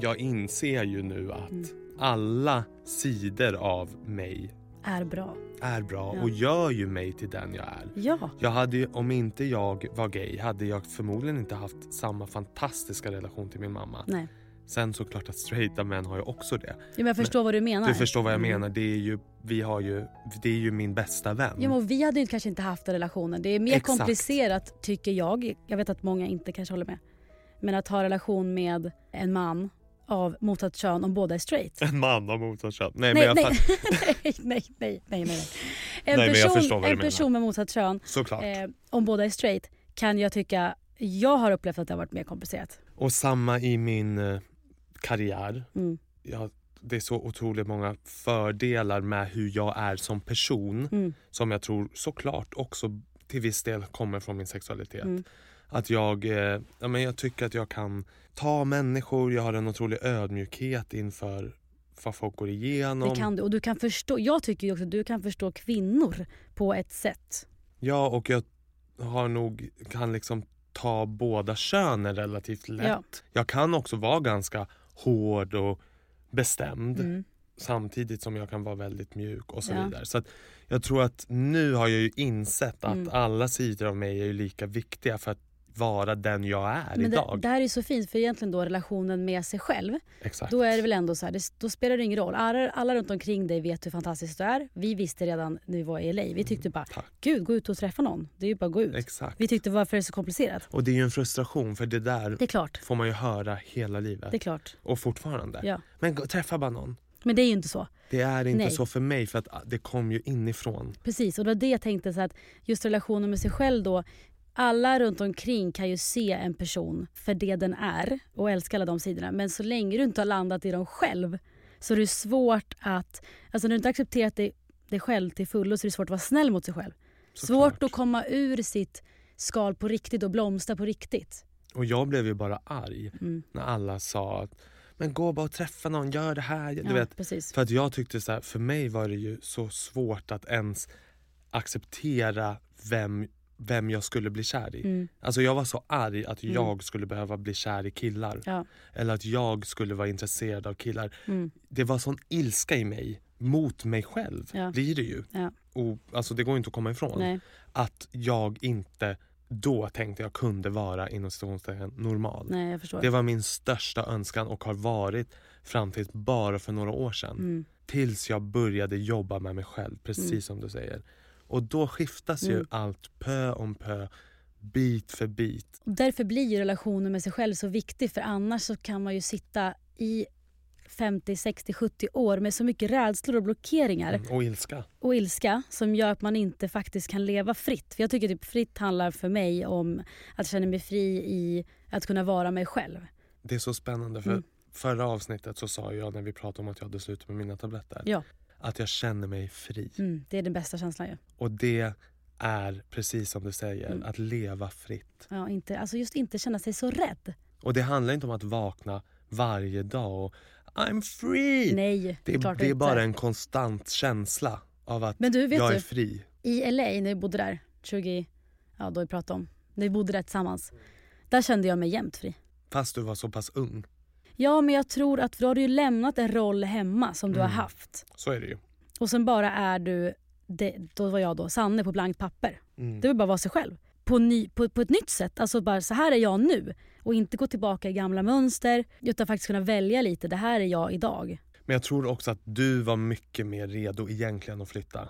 Speaker 4: jag inser ju nu att
Speaker 5: Mm.
Speaker 4: alla sidor av mig
Speaker 5: Är bra.
Speaker 4: är bra och gör ju mig till den jag är.
Speaker 5: Ja.
Speaker 4: Jag hade ju, om inte jag var gay hade jag förmodligen inte haft samma fantastiska relation till min mamma.
Speaker 5: Nej.
Speaker 4: Sen såklart att straighta män har ju också det.
Speaker 5: Ja, men jag förstår vad du menar.
Speaker 4: Du förstår vad
Speaker 5: Mm.
Speaker 4: jag menar. Det är ju, vi har ju, det är ju min bästa vän.
Speaker 5: Ja, men och vi hade ju kanske inte haft den relationen. Det är mer
Speaker 4: Exakt.
Speaker 5: komplicerat tycker jag. Jag vet att många inte kanske håller med. Men att ha relation med en man av motsatt kön om båda är straight.
Speaker 4: En man av motsatt kön. Nej, men
Speaker 5: Nej
Speaker 4: jag
Speaker 5: nej.
Speaker 4: fatt-
Speaker 5: nej, nej, nej, nej, nej.
Speaker 4: Nej,
Speaker 5: En
Speaker 4: men jag
Speaker 5: person,
Speaker 4: förstår vad du
Speaker 5: en
Speaker 4: menar.
Speaker 5: person med motsatt kön,
Speaker 4: Såklart.
Speaker 5: eh, om båda är straight, kan jag tycka, jag har upplevt att det har varit mer komplicerat.
Speaker 4: Och samma i min eh, karriär.
Speaker 5: Mm.
Speaker 4: Jag, det är så otroligt många fördelar med hur jag är som person
Speaker 5: mm,
Speaker 4: som jag tror såklart också till viss del kommer från min sexualitet.
Speaker 5: Mm.
Speaker 4: Att jag, eh, ja, men jag tycker att jag kan ta människor, jag har en otrolig ödmjukhet inför vad folk går igenom.
Speaker 5: Det kan du. Och du kan förstå, jag tycker ju också att du kan förstå kvinnor på ett sätt.
Speaker 4: Ja, och jag har nog, kan liksom ta båda könen relativt lätt.
Speaker 5: Ja.
Speaker 4: Jag kan också vara ganska hård och bestämd samtidigt som jag kan vara väldigt mjuk och så
Speaker 5: Mm. Ja.
Speaker 4: vidare. Så att jag tror att nu har jag ju insett att
Speaker 5: Mm.
Speaker 4: alla sidor av mig är ju lika viktiga för att vara den jag är
Speaker 5: Men det,
Speaker 4: idag.
Speaker 5: det här är så fint för egentligen då relationen med sig själv.
Speaker 4: Exakt.
Speaker 5: Då är det väl ändå så här, det, då spelar det ingen roll. Alla, alla runt omkring dig vet hur fantastiskt du är. Vi visste redan när vi var i LA. Vi tyckte bara, gud gå ut och träffa någon. Det är ju bara att gå ut.
Speaker 4: Mm, Exakt.
Speaker 5: Vi tyckte varför är det så komplicerat?
Speaker 4: Och det är ju en frustration för det där
Speaker 5: Det är klart.
Speaker 4: får man ju höra hela livet.
Speaker 5: Det är klart.
Speaker 4: Och fortfarande.
Speaker 5: Ja.
Speaker 4: Men gå- träffa bara någon.
Speaker 5: Men det är ju inte så.
Speaker 4: Det är inte
Speaker 5: Nej.
Speaker 4: så för mig för att ah, det kom ju inifrån.
Speaker 5: Precis, och det var det jag tänkte så att just relationen med sig själv då. Alla runt omkring kan ju se en person för det den är och älska alla de sidorna. Men så länge du inte har landat i dem själv så är det svårt att... Alltså när du inte har accepterat dig, dig själv till fullo så är det svårt att vara snäll mot sig själv. svårt att komma ur sitt skal på riktigt och blomstra på riktigt. Mm.
Speaker 4: Och jag blev ju bara arg när alla sa att men gå bara och träffa någon, gör det här. Du
Speaker 5: Ja,
Speaker 4: vet.
Speaker 5: precis.
Speaker 4: För att jag tyckte så här, för mig var det ju så svårt att ens acceptera vem, vem jag skulle bli kär i.
Speaker 5: Mm.
Speaker 4: Alltså jag var så arg att jag skulle behöva bli kär i killar.
Speaker 5: Ja. Mm.
Speaker 4: Eller att jag skulle vara intresserad av killar. Det var sån ilska i mig, mot mig själv
Speaker 5: Ja.
Speaker 4: blir det ju.
Speaker 5: Ja.
Speaker 4: Och, alltså det går inte att komma ifrån.
Speaker 5: Nej.
Speaker 4: Att jag inte då tänkte jag kunde vara inom citationstecken normal.
Speaker 5: Nej, jag förstår.
Speaker 4: Det var min största önskan och har varit fram till bara för några år sedan.
Speaker 5: Mm.
Speaker 4: Tills jag började jobba med mig själv, precis som du säger. Och då skiftas
Speaker 5: Mm.
Speaker 4: ju allt pö om pö, bit för bit.
Speaker 5: Och därför blir ju relationen med sig själv så viktig för annars så kan man ju sitta i 50, 60, 70 år med så mycket rädslor och blockeringar
Speaker 4: Och ilska.
Speaker 5: och ilska som gör att man inte faktiskt kan leva fritt. För jag tycker typ fritt handlar för mig om att känna mig fri i att kunna vara mig själv.
Speaker 4: Det är så spännande för
Speaker 5: Mm.
Speaker 4: förra avsnittet så sa jag när vi pratade om att jag hade slutat med mina tabletter.
Speaker 5: Ja,
Speaker 4: Att jag känner mig fri.
Speaker 5: mm, det är den bästa känslan ju.
Speaker 4: Och det är precis som du säger,
Speaker 5: Mm.
Speaker 4: att leva fritt.
Speaker 5: Ja, inte, alltså just inte känna sig så rädd.
Speaker 4: Och det handlar inte om att vakna varje dag och I'm free!
Speaker 5: Nej,
Speaker 4: det, är,
Speaker 5: klart
Speaker 4: det är
Speaker 5: inte.
Speaker 4: bara en konstant känsla av att
Speaker 5: Men du, vet
Speaker 4: jag
Speaker 5: du-
Speaker 4: är fri.
Speaker 5: I LA, när vi bodde där, 20, ja då vi pratade om, när vi bodde där tillsammans. Där kände jag mig jämt fri.
Speaker 4: Fast du var så pass ung.
Speaker 5: Ja, men jag tror att då har du ju lämnat en roll hemma som du
Speaker 4: Mm.
Speaker 5: har haft.
Speaker 4: Så är det ju.
Speaker 5: Och sen bara är du, det, då var jag då, Sanne på blankt papper.
Speaker 4: Mm.
Speaker 5: Det vill bara vara sig själv. På, ny, på, på ett nytt sätt. Alltså bara så här är jag nu. Och inte gå tillbaka i gamla mönster. Utan faktiskt kunna välja lite. Det här är jag idag.
Speaker 4: Men jag tror också att du var mycket mer redo egentligen att flytta.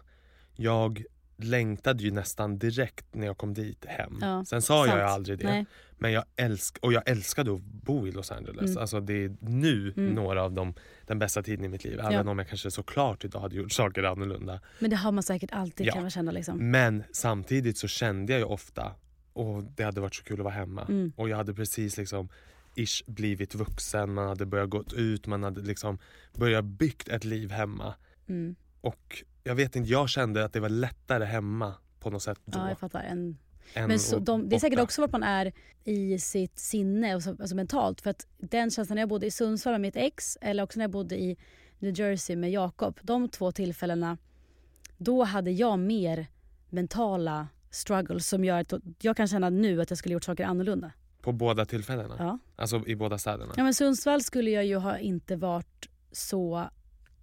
Speaker 4: Jag längtade ju nästan direkt när jag kom dit hem.
Speaker 5: Ja,
Speaker 4: Sen sa jag
Speaker 5: sant.
Speaker 4: ju aldrig det.
Speaker 5: Nej.
Speaker 4: Men jag älsk och jag älskade att bo i Los Angeles.
Speaker 5: Mm.
Speaker 4: Alltså det är nu några av de, den bästa tiden i mitt liv. Även om jag kanske såklart idag hade gjort saker annorlunda.
Speaker 5: Men det har man säkert alltid
Speaker 4: Ja. Mm.
Speaker 5: kan man känna liksom.
Speaker 4: Men samtidigt så kände jag ju ofta och det hade varit så kul att vara hemma.
Speaker 5: Mm.
Speaker 4: Och jag hade precis liksom ish blivit vuxen, man hade börjat gå ut, man hade liksom börjat byggt ett liv hemma.
Speaker 5: Mm.
Speaker 4: Och jag vet inte, jag kände att det var lättare hemma på något sätt då.
Speaker 5: Ja, jag fattar. En,
Speaker 4: än
Speaker 5: men så
Speaker 4: att
Speaker 5: de, det är säkert
Speaker 4: borta.
Speaker 5: också vart man är i sitt sinne, och så, alltså mentalt. För att den känslan när jag bodde i Sundsvall med mitt ex eller också när jag bodde i New Jersey med Jakob. De två tillfällena, då hade jag mer mentala struggles som gör att jag kan känna nu att jag skulle gjort saker annorlunda.
Speaker 4: På båda tillfällena?
Speaker 5: Ja.
Speaker 4: Alltså i båda städerna?
Speaker 5: Ja men Sundsvall skulle jag ju ha inte varit så...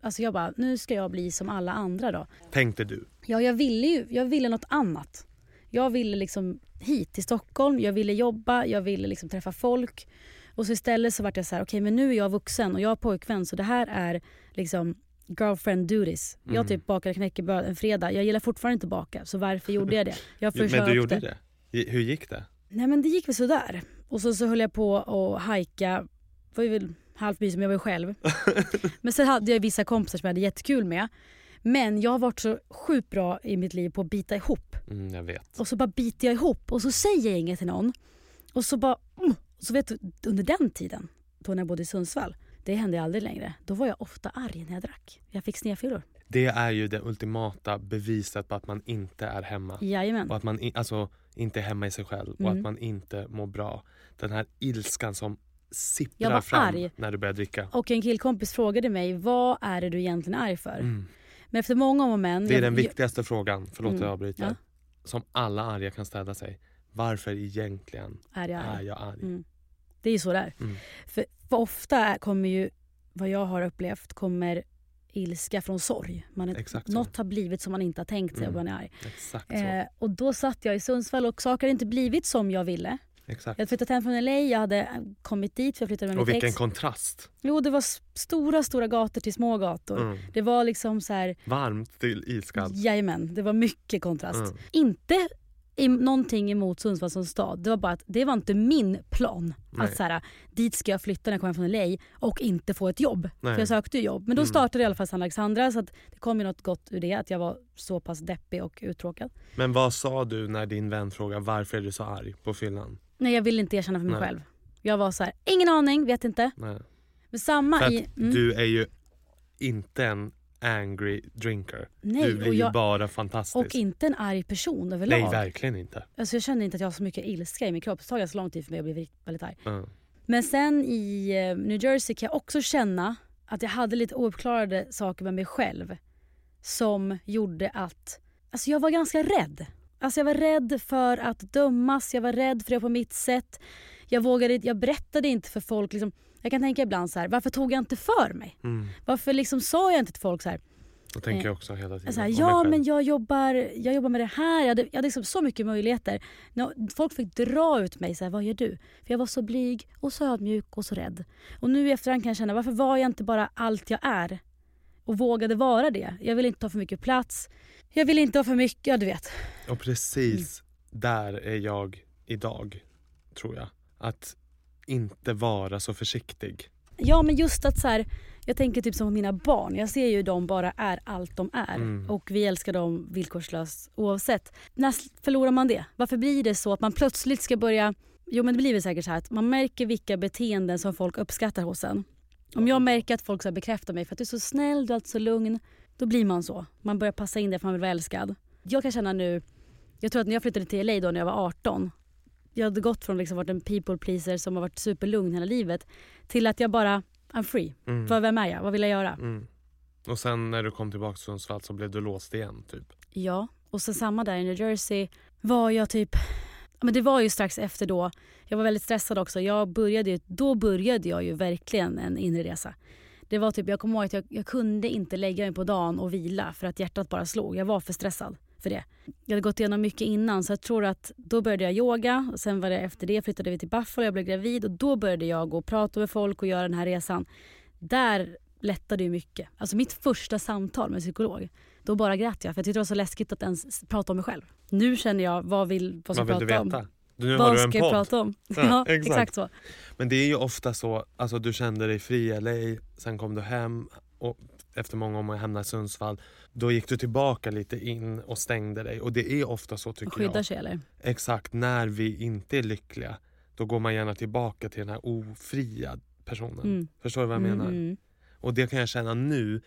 Speaker 5: Alltså jag bara, nu ska jag bli som alla andra då.
Speaker 4: Tänkte du?
Speaker 5: Ja, jag ville ju jag ville något annat. Jag ville liksom hit till Stockholm, jag ville jobba, jag ville liksom träffa folk. Och så istället så vart jag så här, okej men nu är jag vuxen och jag har pojkvän så det här är liksom girlfriend duties.
Speaker 4: Mm.
Speaker 5: Jag typ bakade knäckebröd en fredag, jag gillar fortfarande inte baka så varför gjorde jag det? Jag
Speaker 4: Jo,
Speaker 5: försökte.
Speaker 4: Men du gjorde det? Gi- Hur gick det?
Speaker 5: Nej men det gick väl sådär. Och så, så höll jag på och hajka. var ju väl halvt mysig men jag var ju själv. men sen hade jag vissa kompisar som jag hade jättekul med. Men jag har varit så sjukt bra i mitt liv på att bita ihop.
Speaker 4: Mm, jag vet.
Speaker 5: Och så bara biter jag ihop och så säger jag inget till någon. Och så bara... Mm. Och så vet du, under den tiden, då när jag bodde i Sundsvall, det hände aldrig längre. Då var jag ofta arg när jag drack. Jag fick snedfyllor.
Speaker 4: Det är ju det ultimata beviset på att man inte är hemma.
Speaker 5: Jajamän.
Speaker 4: Och att man i, alltså, inte är hemma i sig själv och
Speaker 5: Mm.
Speaker 4: att man inte mår bra. Den här ilskan som
Speaker 5: Jag
Speaker 4: sipprar
Speaker 5: var
Speaker 4: fram
Speaker 5: arg.
Speaker 4: när du börjar dricka.
Speaker 5: Och en killkompis frågade mig, vad är det du egentligen är arg för? Men efter många om och men...
Speaker 4: Mm. Det är
Speaker 5: jag- Mm.
Speaker 4: den
Speaker 5: jag-
Speaker 4: viktigaste frågan, förlåt att jag avbryter,
Speaker 5: Ja.
Speaker 4: som alla arga kan ställa sig. Varför egentligen
Speaker 5: Är jag arg?
Speaker 4: är Ah, jag arg?
Speaker 5: Mm. Det är ju så det är.
Speaker 4: Mm.
Speaker 5: För, för ofta är- kommer ju, vad jag har upplevt, kommer ilska från sorg. Man är,
Speaker 4: Exakt så.
Speaker 5: något har blivit som man inte har tänkt sig
Speaker 4: Mm.
Speaker 5: och man är arg.
Speaker 4: Exakt så.
Speaker 5: Eh, och då satt jag i Sundsvall och saker hade inte blivit som jag ville.
Speaker 4: Exakt.
Speaker 5: Jag hade flyttat hem från LA, jag hade eh, kommit dit för jag flyttade med
Speaker 4: Och
Speaker 5: mitt
Speaker 4: vilken
Speaker 5: ex.
Speaker 4: kontrast.
Speaker 5: Jo, det var s- stora, stora gator till små gator.
Speaker 4: Mm.
Speaker 5: Det var liksom så här,
Speaker 4: Varmt till iskallt.
Speaker 5: jajamän, det var mycket kontrast.
Speaker 4: Mm.
Speaker 5: Inte i, någonting emot Sundsvall som stad. Det var bara att det var inte min plan.
Speaker 4: Nej.
Speaker 5: Att så här, dit ska jag flytta när jag kommer hem från LA och inte få ett jobb.
Speaker 4: Nej. Mm.
Speaker 5: För jag sökte ju jobb. Men då startade i alla fall San Alexandra så att det kom ju något gott ur det. Att jag var så pass deppig och uttråkad.
Speaker 4: Men vad sa du när din vän frågade varför är du så arg på fyllan?
Speaker 5: Nej jag ville inte erkänna för mig
Speaker 4: Nej.
Speaker 5: själv. Jag var så här, ingen aning, vet inte.
Speaker 4: Nej.
Speaker 5: Men samma
Speaker 4: För att
Speaker 5: i... mm,
Speaker 4: du är ju inte en angry drinker.
Speaker 5: Nej,
Speaker 4: du blir
Speaker 5: och
Speaker 4: ju
Speaker 5: jag-
Speaker 4: bara fantastisk.
Speaker 5: och inte en arg person överlag.
Speaker 4: Nej, verkligen inte.
Speaker 5: Alltså jag kände inte att jag har så mycket ilska i min kropp. Det tar ganska lång tid för mig att bli rikt- väldigt arg.
Speaker 4: Mm.
Speaker 5: Men sen i eh, New Jersey kan jag också känna att jag hade lite ouppklarade saker med mig själv som gjorde att alltså jag var ganska rädd. Alltså jag var rädd för att dömas, jag var rädd för det på mitt sätt. Jag vågade inte- jag berättade inte för folk. Liksom, jag kan tänka ibland så här, varför tog jag inte för mig? Varför liksom sa jag inte till folk så här,
Speaker 4: Då tänker jag också hela tiden
Speaker 5: så här,
Speaker 4: på
Speaker 5: Alltså, ja
Speaker 4: mig själv.
Speaker 5: men jag jobbar, jag jobbar med det här, jag hade, jag hade liksom så mycket möjligheter. Nå- Folk fick dra ut mig, så här, vad gör du? För jag var så blyg och så ödmjuk och så rädd. Och nu i efterhand kan jag känna, varför var jag inte bara allt jag är? Och vågade vara det. Jag ville inte ta för mycket plats. Jag ville inte ha för mycket, ja du vet.
Speaker 4: Och precis
Speaker 5: Mm.
Speaker 4: där är jag idag, tror jag. Att inte vara så försiktig.
Speaker 5: Ja men just att så här, jag tänker typ som på mina barn. Jag ser ju dem bara är allt de är. Och vi älskar dem villkorslöst oavsett. När s- förlorar man det? Varför blir det så att man plötsligt ska börja... Jo men det blir väl säkert så här att man märker vilka beteenden som folk uppskattar hos en. Om jag märker att folk så här bekräftar mig för att du är så snäll, du är alltid så lugn. Då blir man så. Man börjar passa in det för man vill vara älskad. Jag kan känna nu, jag tror att när jag flyttade till LA då när jag var 18. Jag hade gått från liksom varit en people pleaser som har varit superlugn hela livet till att jag bara, I'm free.
Speaker 4: Mm.
Speaker 5: Vad, vem är jag? Vad vill jag göra?
Speaker 4: Och sen när du kom tillbaka till Sundsvall så blev du låst igen typ.
Speaker 5: Ja, och sen samma där i New Jersey var jag typ... ja, Men det var ju strax efter då. Jag var väldigt stressad också. Jag började ju, då började jag ju verkligen en inre resa. Det var typ, jag kommer ihåg att jag, jag kunde inte lägga mig på dagen och vila för att hjärtat bara slog. Jag var för stressad för det. Jag hade gått igenom mycket innan så jag tror att då började jag yoga. Och sen var det efter det flyttade vi till Buffalo, jag blev gravid och då började jag gå och prata med folk och göra den här resan. Där lättade ju mycket. Alltså mitt första samtal med en psykolog, då bara grät jag för jag tyckte det var så läskigt att ens s- prata om mig själv. Nu känner jag, vad vill, vad ska
Speaker 4: Vad vill
Speaker 5: jag
Speaker 4: du
Speaker 5: prata
Speaker 4: veta?
Speaker 5: om?
Speaker 4: Du, nu har
Speaker 5: Vad
Speaker 4: du en
Speaker 5: ska jag
Speaker 4: podd.
Speaker 5: prata om?
Speaker 4: Ja,
Speaker 5: Ja,
Speaker 4: exakt.
Speaker 5: exakt. så.
Speaker 4: Men det är ju ofta så, alltså du kände dig fri i LA, sen kom du hem och efter många om och hamnade i Sundsvall. Då gick du tillbaka lite in och stängde dig och det är ofta så tycker
Speaker 5: Skyddar
Speaker 4: jag.
Speaker 5: sig eller?
Speaker 4: Exakt, när vi inte är lyckliga då går man gärna tillbaka till den här ofria personen.
Speaker 5: Mm.
Speaker 4: Förstår du vad jag menar?
Speaker 5: Mm.
Speaker 4: Och det kan jag känna nu.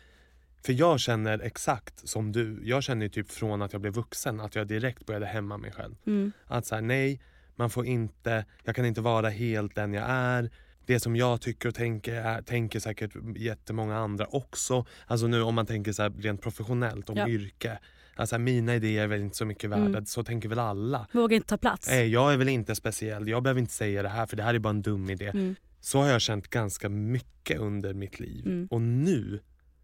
Speaker 4: För jag känner exakt som du. Jag känner ju typ från att jag blev vuxen att jag direkt började hämma mig själv.
Speaker 5: Mm.
Speaker 4: Att så här, nej, man får inte, jag kan inte vara helt den jag är. Det som jag tycker och tänker är, tänker säkert jättemånga andra också. Alltså nu om man tänker så här rent professionellt om
Speaker 5: Ja.
Speaker 4: yrke. Alltså mina idéer är väl inte så mycket värda,
Speaker 5: Mm.
Speaker 4: så tänker väl alla.
Speaker 5: Vågar inte ta plats.
Speaker 4: Nej, Eh, jag är väl inte speciell, jag behöver inte säga det här för det här är bara en dum idé.
Speaker 5: Mm.
Speaker 4: Så har jag känt ganska mycket under mitt liv.
Speaker 5: Mm.
Speaker 4: Och nu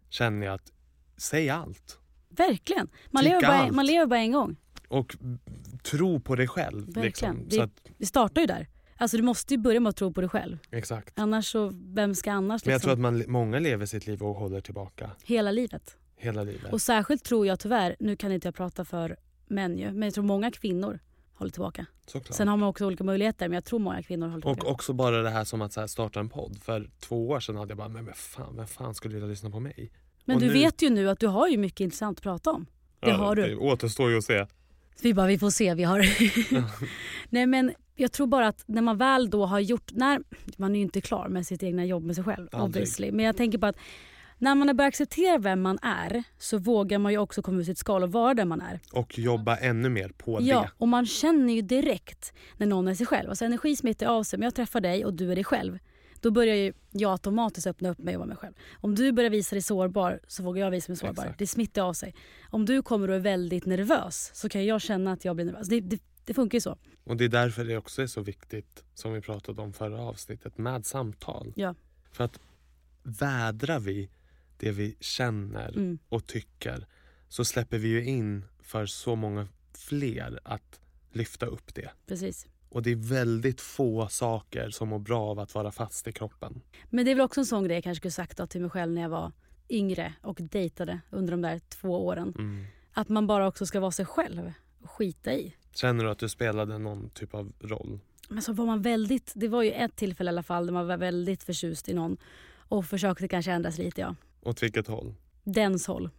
Speaker 4: känner jag att, säg allt.
Speaker 5: Verkligen. Man
Speaker 4: Tycka
Speaker 5: lever, bara,
Speaker 4: allt.
Speaker 5: man lever bara en gång.
Speaker 4: Och mm, tro på dig själv.
Speaker 5: Verkligen.
Speaker 4: Liksom.
Speaker 5: Det-
Speaker 4: Så att,
Speaker 5: Vi startar ju där. Alltså du måste ju börja med att tro på dig själv.
Speaker 4: exakt.
Speaker 5: Annars så, vem ska annars
Speaker 4: Men jag
Speaker 5: liksom?
Speaker 4: tror att man, många lever sitt liv och håller tillbaka
Speaker 5: Hela livet.
Speaker 4: hela livet.
Speaker 5: Och särskilt tror jag tyvärr, nu kan inte jag prata för män ju, men jag tror många kvinnor håller tillbaka.
Speaker 4: Såklart.
Speaker 5: Sen har man också olika möjligheter men jag tror många kvinnor håller tillbaka.
Speaker 4: och också bara det här som att så här starta en podd. För två år sedan hade jag bara, men vem fan, vem fan skulle vilja lyssna på mig?
Speaker 5: men
Speaker 4: och
Speaker 5: du
Speaker 4: nu-
Speaker 5: vet ju nu att du har ju mycket intressant att prata om. Det har du.
Speaker 4: Det återstår ju att se.
Speaker 5: Så vi bara, vi får se, vi har... Nej men jag tror bara att när man väl då har gjort, när, man är ju inte klar med sitt egna jobb med sig själv
Speaker 4: Aldrig.
Speaker 5: obviously. Men jag tänker på att när man har börjat acceptera vem man är så vågar man ju också komma ur sitt skal och vara den man är.
Speaker 4: Och jobba ännu mer på
Speaker 5: Ja,
Speaker 4: det.
Speaker 5: och man känner ju direkt när någon är sig själv. Alltså energi smittar av sig. Om jag träffar dig och du är dig själv, då börjar ju jag automatiskt öppna upp mig och vara mig själv. Om du börjar visa dig sårbar så vågar jag visa mig sårbar.
Speaker 4: Exakt.
Speaker 5: Det smittar av sig. Om du kommer och är väldigt nervös så kan jag känna att jag blir nervös. Det, det Det funkar ju så.
Speaker 4: Och det är därför det också är så viktigt, som vi pratade om förra avsnittet, med samtal.
Speaker 5: Ja.
Speaker 4: För att vädrar vi det vi känner
Speaker 5: Mm.
Speaker 4: och tycker så släpper vi ju in för så många fler att lyfta upp det.
Speaker 5: Precis.
Speaker 4: Och det är väldigt få saker som mår bra av att vara fast i kroppen.
Speaker 5: Men det är väl också en sån grej jag kanske skulle sagt då till mig själv när jag var yngre och dejtade under de där två åren. Att man bara också ska vara sig själv och skita i.
Speaker 4: Känner du att du spelade någon typ av roll?
Speaker 5: Men så var man väldigt, det var ju ett tillfälle i alla fall där man var väldigt förtjust i någon och försökte kanske ändras lite ja.
Speaker 4: Åt vilket håll?
Speaker 5: Dens håll.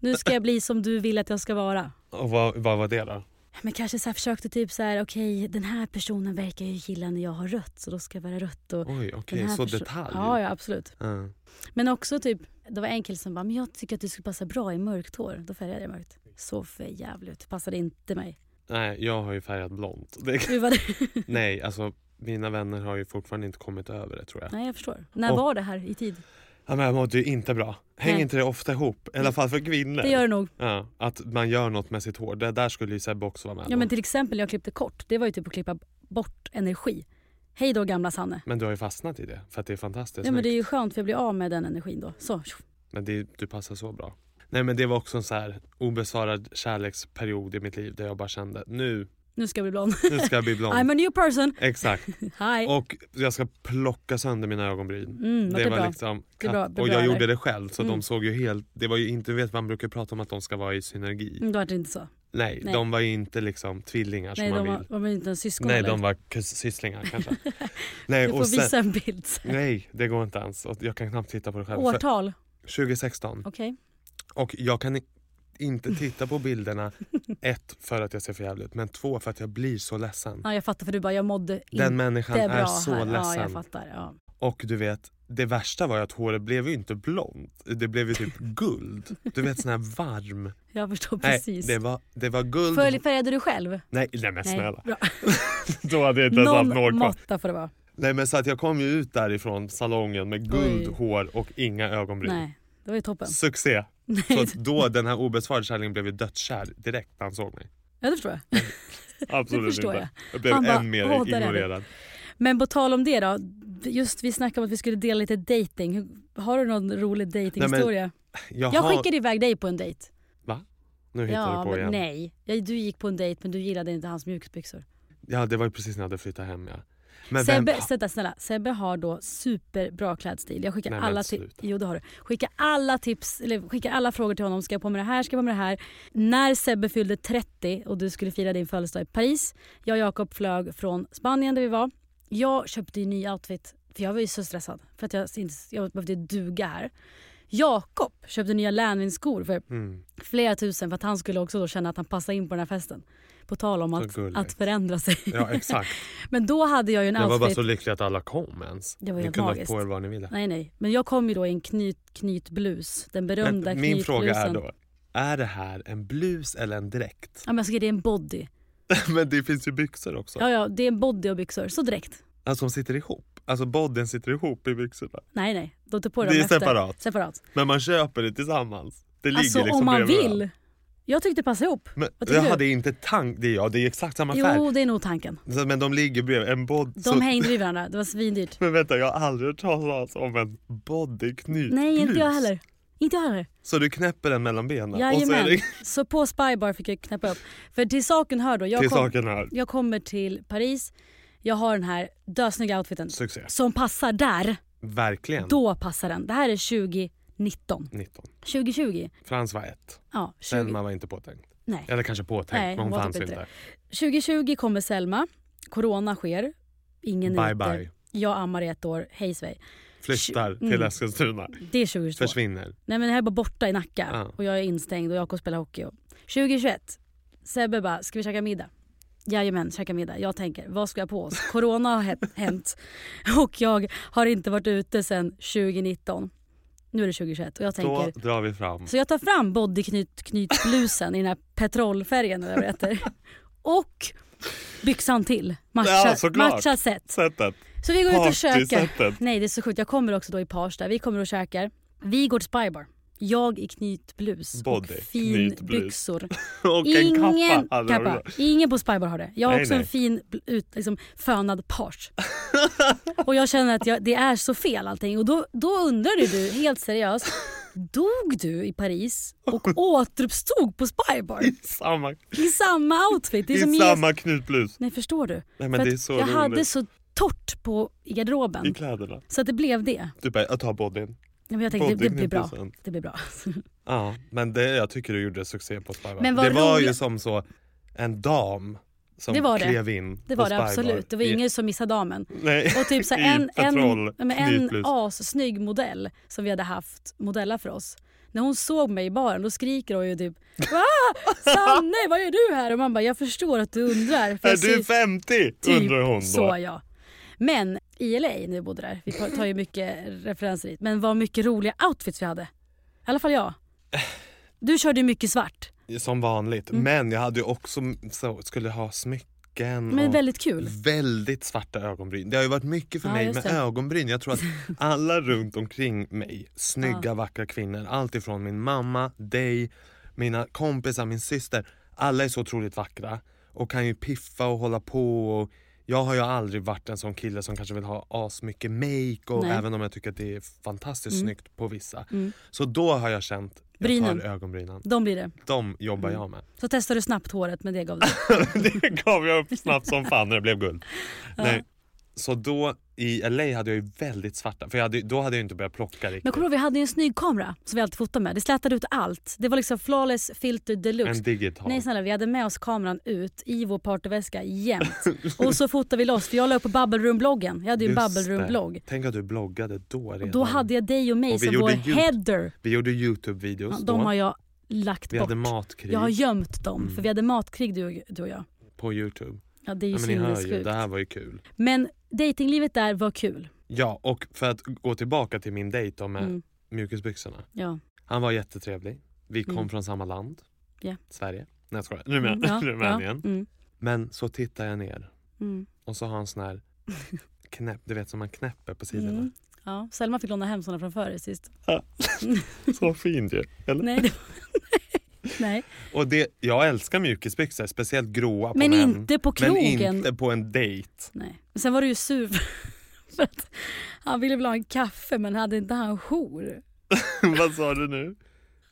Speaker 5: Nu ska jag bli som du vill att jag ska vara.
Speaker 4: Och vad, vad var det då?
Speaker 5: Men kanske så här försökte typ så här, okej den här personen verkar ju gilla när jag har rött så då ska jag vara rött. Och
Speaker 4: Oj, okej,
Speaker 5: den här
Speaker 4: så
Speaker 5: perso-
Speaker 4: detalj.
Speaker 5: Ja, ja absolut.
Speaker 4: Ja.
Speaker 5: Men också typ, det var en kille som bara, men jag tycker att du skulle passa bra i mörkt hår. Då färgade jag det mörkt. Så för jävligt. passade inte mig.
Speaker 4: Nej, jag har ju färgat blont. Det,
Speaker 5: Hur var det?
Speaker 4: nej, alltså mina vänner har ju fortfarande inte kommit över det tror jag.
Speaker 5: Nej jag förstår. När
Speaker 4: Och-
Speaker 5: var det här i tid?
Speaker 4: Ja, men jag mådde ju inte bra. Hänger
Speaker 5: Nej.
Speaker 4: inte det ofta ihop? I alla fall för kvinnor.
Speaker 5: Det gör det nog.
Speaker 4: Ja, att man gör något med sitt hår. Det där skulle ju Sebbe också vara med
Speaker 5: Ja
Speaker 4: om.
Speaker 5: men till exempel jag klippte kort. Det var ju typ att klippa bort energi. Hej då gamla Sanne.
Speaker 4: Men du har ju fastnat i det för att det är fantastiskt
Speaker 5: Ja men det är ju
Speaker 4: snyggt.
Speaker 5: skönt för jag blir av med den energin då. Så. tjoff.
Speaker 4: Men det, du passar så bra. Nej men det var också en så här obesvarad kärleksperiod i mitt liv där jag bara kände nu,
Speaker 5: Nu ska jag bli blond.
Speaker 4: nu ska jag bli blond.
Speaker 5: I'm a new person.
Speaker 4: Exakt.
Speaker 5: Hi.
Speaker 4: Och jag ska plocka sönder mina ögonbryn.
Speaker 5: Mm, vart det
Speaker 4: var
Speaker 5: bra?
Speaker 4: liksom
Speaker 5: Det är bra-
Speaker 4: katt-
Speaker 5: det är
Speaker 4: och
Speaker 5: bra
Speaker 4: jag
Speaker 5: där.
Speaker 4: gjorde det själv så
Speaker 5: Mm.
Speaker 4: de såg ju helt, det var ju inte, vet man brukar prata om att de ska vara i synergi.
Speaker 5: Mm, Då var det inte så.
Speaker 4: Nej,
Speaker 5: Nej.
Speaker 4: de var ju inte liksom tvillingar
Speaker 5: Nej
Speaker 4: som man
Speaker 5: de
Speaker 4: vill.
Speaker 5: var, var väl inte ens syskon
Speaker 4: Nej,
Speaker 5: eller?
Speaker 4: de var kus- sysslingar kanske. Nej,
Speaker 5: Du får
Speaker 4: och sen,
Speaker 5: visa en bild sen.
Speaker 4: nej, det går inte ens. Och Jag kan knappt titta på det själv. För
Speaker 5: Årtal.
Speaker 4: 2016.
Speaker 5: Okej.
Speaker 4: Och jag kan i- inte titta på bilderna, ett för att jag ser för jävligt men två för att jag blir så ledsen.
Speaker 5: Ja jag fattar för du bara, jag mådde inte
Speaker 4: Den människan
Speaker 5: bra
Speaker 4: är så
Speaker 5: här. Ja jag
Speaker 4: ledsen.
Speaker 5: fattar. Ja.
Speaker 4: och du vet, det värsta var ju att håret blev ju inte blont. Det blev ju typ guld. Du vet sån här varm.
Speaker 5: Jag förstår
Speaker 4: Nej,
Speaker 5: precis.
Speaker 4: det var, det var guld.
Speaker 5: Följ, färgade du själv?
Speaker 4: Nej, nej men snälla.
Speaker 5: bra.
Speaker 4: Då hade jag inte ens haft något
Speaker 5: Någon
Speaker 4: kvar.
Speaker 5: måtta får det vara.
Speaker 4: Nej men så att jag kom ju ut därifrån salongen med guld
Speaker 5: Oj.
Speaker 4: hår och inga ögonbryn.
Speaker 5: Nej, det var ju toppen.
Speaker 4: Succé! Så
Speaker 5: Nej,
Speaker 4: att då den här obesvarade kärleken blev ju dödskär direkt när han såg mig.
Speaker 5: ja, det förstår jag.
Speaker 4: Absolut
Speaker 5: Det förstår
Speaker 4: inte.
Speaker 5: jag.
Speaker 4: blev
Speaker 5: Han
Speaker 4: än
Speaker 5: bara,
Speaker 4: mer
Speaker 5: "Åh, där är vi."
Speaker 4: ignorerad.
Speaker 5: Men på tal om det då. Just vi snackade om att vi skulle dela lite dating. Hur- Har du någon rolig datinghistoria?
Speaker 4: Jaha,
Speaker 5: Jag skickade iväg dig på en dejt.
Speaker 4: Va? Nu hittar
Speaker 5: Ja,
Speaker 4: du på igen.
Speaker 5: men nej. Ja, Du gick på en dejt men du gillade inte hans mjukisbyxor.
Speaker 4: Ja det var ju precis när jag hade flyttat hem ja. Men
Speaker 5: Sebbe,
Speaker 4: vem...
Speaker 5: vänta, snälla, Sebbe har då superbra klädstil. Jag skickar
Speaker 4: Nej, men
Speaker 5: alla tips.
Speaker 4: sluta.
Speaker 5: Jo det har du. Skickar alla tips, eller skickar alla frågor till honom. Ska jag på med det här? Ska jag på med det här? När Sebbe fyllde 30 och du skulle fira din födelsedag i Paris. Jag och Jakob flög från Spanien där vi var. Jag köpte ju ny outfit för jag var ju så stressad. För att jag, inte- jag behövde duga här. Jakob köpte nya Lanvin-skor för
Speaker 4: Mm.
Speaker 5: flera tusen för att han skulle också då känna att han passade in på den här festen. På tal om
Speaker 4: Så
Speaker 5: att,
Speaker 4: gulligt.
Speaker 5: att förändra sig.
Speaker 4: Ja exakt.
Speaker 5: Men då hade jag ju en
Speaker 4: Jag var
Speaker 5: outfit.
Speaker 4: bara så lycklig att alla kom ens.
Speaker 5: Det var
Speaker 4: ni
Speaker 5: helt
Speaker 4: kunde
Speaker 5: magiskt.
Speaker 4: ha på er vad ni ville.
Speaker 5: Nej nej, men jag kom ju då i en knyt, knytblus. Den
Speaker 4: Men
Speaker 5: berömda
Speaker 4: min fråga är
Speaker 5: knytblusen.
Speaker 4: då, är det här en blus eller en dräkt?
Speaker 5: Ja men jag tycker det är en body.
Speaker 4: men det finns ju byxor också.
Speaker 5: Ja ja, det är en body och byxor. Så direkt.
Speaker 4: Alltså de sitter ihop. Alltså bodyn sitter ihop i byxorna.
Speaker 5: Nej nej, de tar på
Speaker 4: Det
Speaker 5: dem
Speaker 4: är
Speaker 5: efter.
Speaker 4: separat.
Speaker 5: Separat.
Speaker 4: Men man köper det tillsammans. Det ligger
Speaker 5: Alltså
Speaker 4: liksom
Speaker 5: om man
Speaker 4: bredvid
Speaker 5: vill.
Speaker 4: varandra.
Speaker 5: Jag tyckte det passade ihop.
Speaker 4: Men
Speaker 5: Vad tycker
Speaker 4: jag
Speaker 5: du?
Speaker 4: hade inte tank... Det är, ja, det är exakt samma
Speaker 5: Jo
Speaker 4: färg.
Speaker 5: det är nog tanken.
Speaker 4: Så- Men de ligger bredvid. En bod...
Speaker 5: De
Speaker 4: så-
Speaker 5: hängde vid varandra, det var svindyrt.
Speaker 4: Men vänta, jag har aldrig hört talas om en bodyknyt.
Speaker 5: Nej inte jag heller. Inte jag heller.
Speaker 4: Så du knäpper den mellan benen? och så är
Speaker 5: Jajamän.
Speaker 4: det...
Speaker 5: Så, på Spybar fick jag knäppa upp. För till saken hör då. Jag
Speaker 4: Till
Speaker 5: kom-
Speaker 4: saken här.
Speaker 5: Jag kommer till Paris, jag har den här dösnygga outfiten
Speaker 4: Succé.
Speaker 5: som passar där.
Speaker 4: Verkligen.
Speaker 5: Då passar den. Det här är 2019.
Speaker 4: 19.
Speaker 5: 2020?
Speaker 4: Frans var ett.
Speaker 5: Ja, 20.
Speaker 4: Selma var inte påtänkt.
Speaker 5: Nej.
Speaker 4: Eller kanske påtänkt,
Speaker 5: Nej,
Speaker 4: men hon
Speaker 5: hon var
Speaker 4: fanns
Speaker 5: typ inte
Speaker 4: inte.
Speaker 5: 2020 kommer Selma, corona sker, ingen är
Speaker 4: Bye
Speaker 5: ute.
Speaker 4: bye.
Speaker 5: Jag ammar i ett år, hej svej.
Speaker 4: Flyttar till
Speaker 5: Mm.
Speaker 4: Eskilstuna.
Speaker 5: Det är 2022.
Speaker 4: Försvinner.
Speaker 5: Nej men det här är bara borta i Nacka
Speaker 4: Ja.
Speaker 5: och jag är instängd och Jakob spelar hockey. Och... 2021, Sebbe bara, ska vi käka middag? Jajamän, käka middag. Jag tänker, vad ska jag på oss? Corona har hä- hänt och jag har inte varit ute sedan 2019. Nu är det 2021 och jag tänker,
Speaker 4: Då drar vi fram.
Speaker 5: så jag tar fram bodyknytblusen i den här petrolfärgen eller vad det heter. Och byxan till, matcha,
Speaker 4: Ja, såklart.
Speaker 5: matcha set.
Speaker 4: Sättet.
Speaker 5: Så vi går ut och käkar.
Speaker 4: Partysättet.
Speaker 5: Nej det är så sjukt, jag kommer också då i page där. Vi kommer och käkar. Vi går till Spybar. Jag i knytblus
Speaker 4: Body,
Speaker 5: och finbyxor.
Speaker 4: knytblus. Och en kappa Alltså, hade de
Speaker 5: kappa.
Speaker 4: då.
Speaker 5: Ingen på Spybar har det. Jag har
Speaker 4: Nej,
Speaker 5: också en
Speaker 4: nej.
Speaker 5: fin bl- ut, liksom, fönad page. och jag känner att jag, det är så fel allting. Och då, då undrade du helt seriöst, dog du i Paris och återuppstod på Spybar?
Speaker 4: Samma,
Speaker 5: I samma outfit? Det är
Speaker 4: I
Speaker 5: som Jesus-
Speaker 4: samma knutblus.
Speaker 5: Nej förstår du?
Speaker 4: men
Speaker 5: För
Speaker 4: det
Speaker 5: att
Speaker 4: är så
Speaker 5: jag
Speaker 4: roligt.
Speaker 5: hade så torrt på i garderoben.
Speaker 4: I kläderna.
Speaker 5: så att det blev det.
Speaker 4: Du bara, jag tar bodyn.
Speaker 5: Ja, men Jag tänkte det, det blir bra.
Speaker 4: 80%.
Speaker 5: Det blir bra.
Speaker 4: Ja, men det, jag tycker du gjorde succé på Spybar.
Speaker 5: Men vad
Speaker 4: det var
Speaker 5: roligt-
Speaker 4: ju som så en dam som
Speaker 5: Det var det.
Speaker 4: klev in
Speaker 5: Det
Speaker 4: på
Speaker 5: var det
Speaker 4: Spy Bar.
Speaker 5: absolut. Det var
Speaker 4: I-
Speaker 5: ingen som missade damen.
Speaker 4: Nej.
Speaker 5: Och typ så här,
Speaker 4: I
Speaker 5: en, en,
Speaker 4: patroll,
Speaker 5: ja, men en
Speaker 4: knytblus.
Speaker 5: assnygg modell som vi hade haft modella för oss. När hon såg mig i baren då skriker hon ju typ Va? Sanne vad gör du här? Och man bara jag förstår att du undrar. För
Speaker 4: Är
Speaker 5: jag ser- typ
Speaker 4: du 50? undrar hon då.
Speaker 5: så ja. Men i LA när vi bodde där, vi tar ju mycket referenser dit, men vad mycket roliga outfits vi hade. I alla fall jag.
Speaker 4: Eh.
Speaker 5: Du körde ju mycket svart,
Speaker 4: Som vanligt.
Speaker 5: Mm.
Speaker 4: Men jag hade ju också så, skulle ha smycken
Speaker 5: men
Speaker 4: och
Speaker 5: väldigt kul.
Speaker 4: väldigt svarta ögonbryn. Det har ju varit mycket för
Speaker 5: Ja,
Speaker 4: mig
Speaker 5: just
Speaker 4: med
Speaker 5: det.
Speaker 4: ögonbryn. Jag tror att alla runt omkring mig, snygga vackra kvinnor, allt ifrån min mamma, dig, mina kompisar, min syster. Alla är så otroligt vackra och kan ju piffa och hålla på. Och jag har ju aldrig varit en sån kille som kanske vill ha asmycket make och
Speaker 5: Nej. Mm.
Speaker 4: även om jag tycker att det är fantastiskt snyggt på vissa. Så då har jag känt, jag
Speaker 5: Brynen. Mm.
Speaker 4: tar ögonbrynen.
Speaker 5: De blir det.
Speaker 4: De jobbar jag med.
Speaker 5: Så testade du snabbt håret men det gav det.
Speaker 4: det gav jag upp snabbt som fan när det blev guld. Nej. Så då i LA hade jag ju väldigt svarta, för jag hade, då hade jag ju inte börjat plocka riktigt.
Speaker 5: Men kommer du ihåg, vi hade ju en snygg kamera som vi alltid fotade med. Det slätade ut allt. Det var liksom flawless filter deluxe.
Speaker 4: en digital.
Speaker 5: Nej snälla, vi hade med oss kameran ut i vår partyväska jämt. Och så fotade vi loss, för jag la upp på Bubble Room-bloggen. Jag hade ju en
Speaker 4: Just
Speaker 5: Bubble
Speaker 4: det.
Speaker 5: Room-blogg.
Speaker 4: Tänk att du bloggade då redan.
Speaker 5: Då hade jag dig och mig
Speaker 4: Och vi
Speaker 5: som
Speaker 4: gjorde
Speaker 5: vår
Speaker 4: ljud.
Speaker 5: header.
Speaker 4: Vi gjorde Youtube-videos
Speaker 5: Ja,
Speaker 4: då.
Speaker 5: De har jag lagt
Speaker 4: Vi
Speaker 5: bort.
Speaker 4: hade matkrig
Speaker 5: Jag har gömt dem, för vi hade matkrig du, du och jag.
Speaker 4: på Youtube.
Speaker 5: Ja, det är ju
Speaker 4: Ja, men ni hör ju,
Speaker 5: sinnessjukt.
Speaker 4: det här var ju kul.
Speaker 5: Men datinglivet där var kul.
Speaker 4: Ja, och för att gå tillbaka till min dejt då med
Speaker 5: Mm.
Speaker 4: mjukisbyxorna.
Speaker 5: Ja.
Speaker 4: Han var jättetrevlig. Vi kom från samma land.
Speaker 5: Mm. Ja. Mm,
Speaker 4: Sverige. Nej jag skojar. Rumän-
Speaker 5: Ja,
Speaker 4: Rumänien.
Speaker 5: Ja. Mm.
Speaker 4: Men så tittar jag ner
Speaker 5: Mm.
Speaker 4: och så har han sån här knäpp, du vet som man knäpper på sidorna.
Speaker 5: Mm. ja. Selma fick låna hem såna från förr sist.
Speaker 4: Så fint ju. Eller?
Speaker 5: Nej. Det... Nej.
Speaker 4: Och det, jag älskar mjukisbyxor, speciellt gråa på
Speaker 5: Men
Speaker 4: män.
Speaker 5: inte på
Speaker 4: Men
Speaker 5: krogen.
Speaker 4: inte på en dejt.
Speaker 5: Nej. Men Sen var du ju sur för- för att han ville väl ha en kaffe men hade inte han jour?
Speaker 4: Vad sa du nu?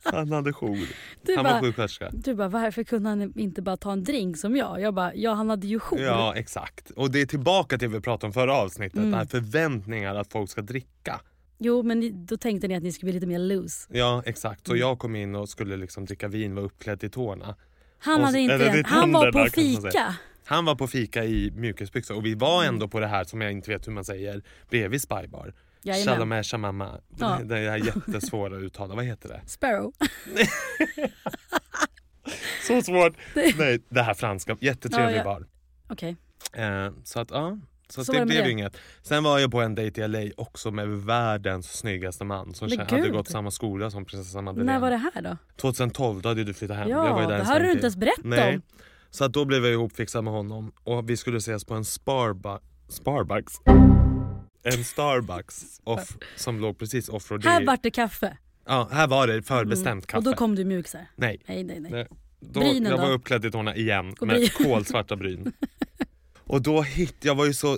Speaker 4: Han hade jour.
Speaker 5: Du
Speaker 4: Han
Speaker 5: bara,
Speaker 4: var sjuksköterska.
Speaker 5: du bara, varför kunde han inte bara ta en drink som jag? Jag bara, ja han hade ju jour.
Speaker 4: Ja exakt. Och det är tillbaka till det vi pratade om förra avsnittet.
Speaker 5: Mm.
Speaker 4: Det här förväntningar att folk ska dricka.
Speaker 5: Jo men ni- då tänkte ni att ni skulle bli lite mer loose.
Speaker 4: Ja exakt.
Speaker 5: Mm.
Speaker 4: Så jag kom in och skulle liksom dricka vin, var uppklädd i tårna.
Speaker 5: Han,
Speaker 4: Och
Speaker 5: hade
Speaker 4: så-
Speaker 5: inte,
Speaker 4: eller det är
Speaker 5: han var
Speaker 4: tänderna,
Speaker 5: på
Speaker 4: kan man säga.
Speaker 5: fika.
Speaker 4: Han var på fika i mjukisbyxor och vi var
Speaker 5: Mm.
Speaker 4: ändå på det här som jag inte vet hur man säger bredvid Spybar.
Speaker 5: Jajamän.
Speaker 4: Shalomeh shamama.
Speaker 5: Ja.
Speaker 4: Det här jättesvåra att uttala. Vad heter det?
Speaker 5: Sparrow.
Speaker 4: Så svårt! Nej, det här franska. Jättetrevlig
Speaker 5: Ja, ja.
Speaker 4: bar.
Speaker 5: Okej.
Speaker 4: Eh, så att ja. Så,
Speaker 5: Så
Speaker 4: att
Speaker 5: var
Speaker 4: det
Speaker 5: det med
Speaker 4: blev
Speaker 5: det.
Speaker 4: ju inget. Sen var jag på en dejt i LA också med världens snyggaste man som
Speaker 5: Men
Speaker 4: kä- hade
Speaker 5: gud.
Speaker 4: gått samma skola som prinsessan Madeleine.
Speaker 5: När var det här då?
Speaker 4: 2012, då hade du flyttat hem.
Speaker 5: Ja,
Speaker 4: jag var ju där
Speaker 5: det
Speaker 4: en
Speaker 5: har
Speaker 4: sväng
Speaker 5: du inte
Speaker 4: till.
Speaker 5: ens berättat
Speaker 4: Nej.
Speaker 5: om.
Speaker 4: Så att då blev jag ihopfixad med honom och vi skulle ses på en Sparba- Sparbucks. En Starbucks off, som låg precis off Rodeo.
Speaker 5: Här vart det kaffe.
Speaker 4: ja, här var det förbestämt kaffe.
Speaker 5: Mm. Och då kom du mjukisar.
Speaker 4: Nej.
Speaker 5: Nej, nej, nej.
Speaker 4: Nej. Då,
Speaker 5: Brynen
Speaker 4: jag var
Speaker 5: då?
Speaker 4: uppklädd i tårna igen
Speaker 5: Och bryn.
Speaker 4: med kolsvarta bryn. och då hitt, jag var ju så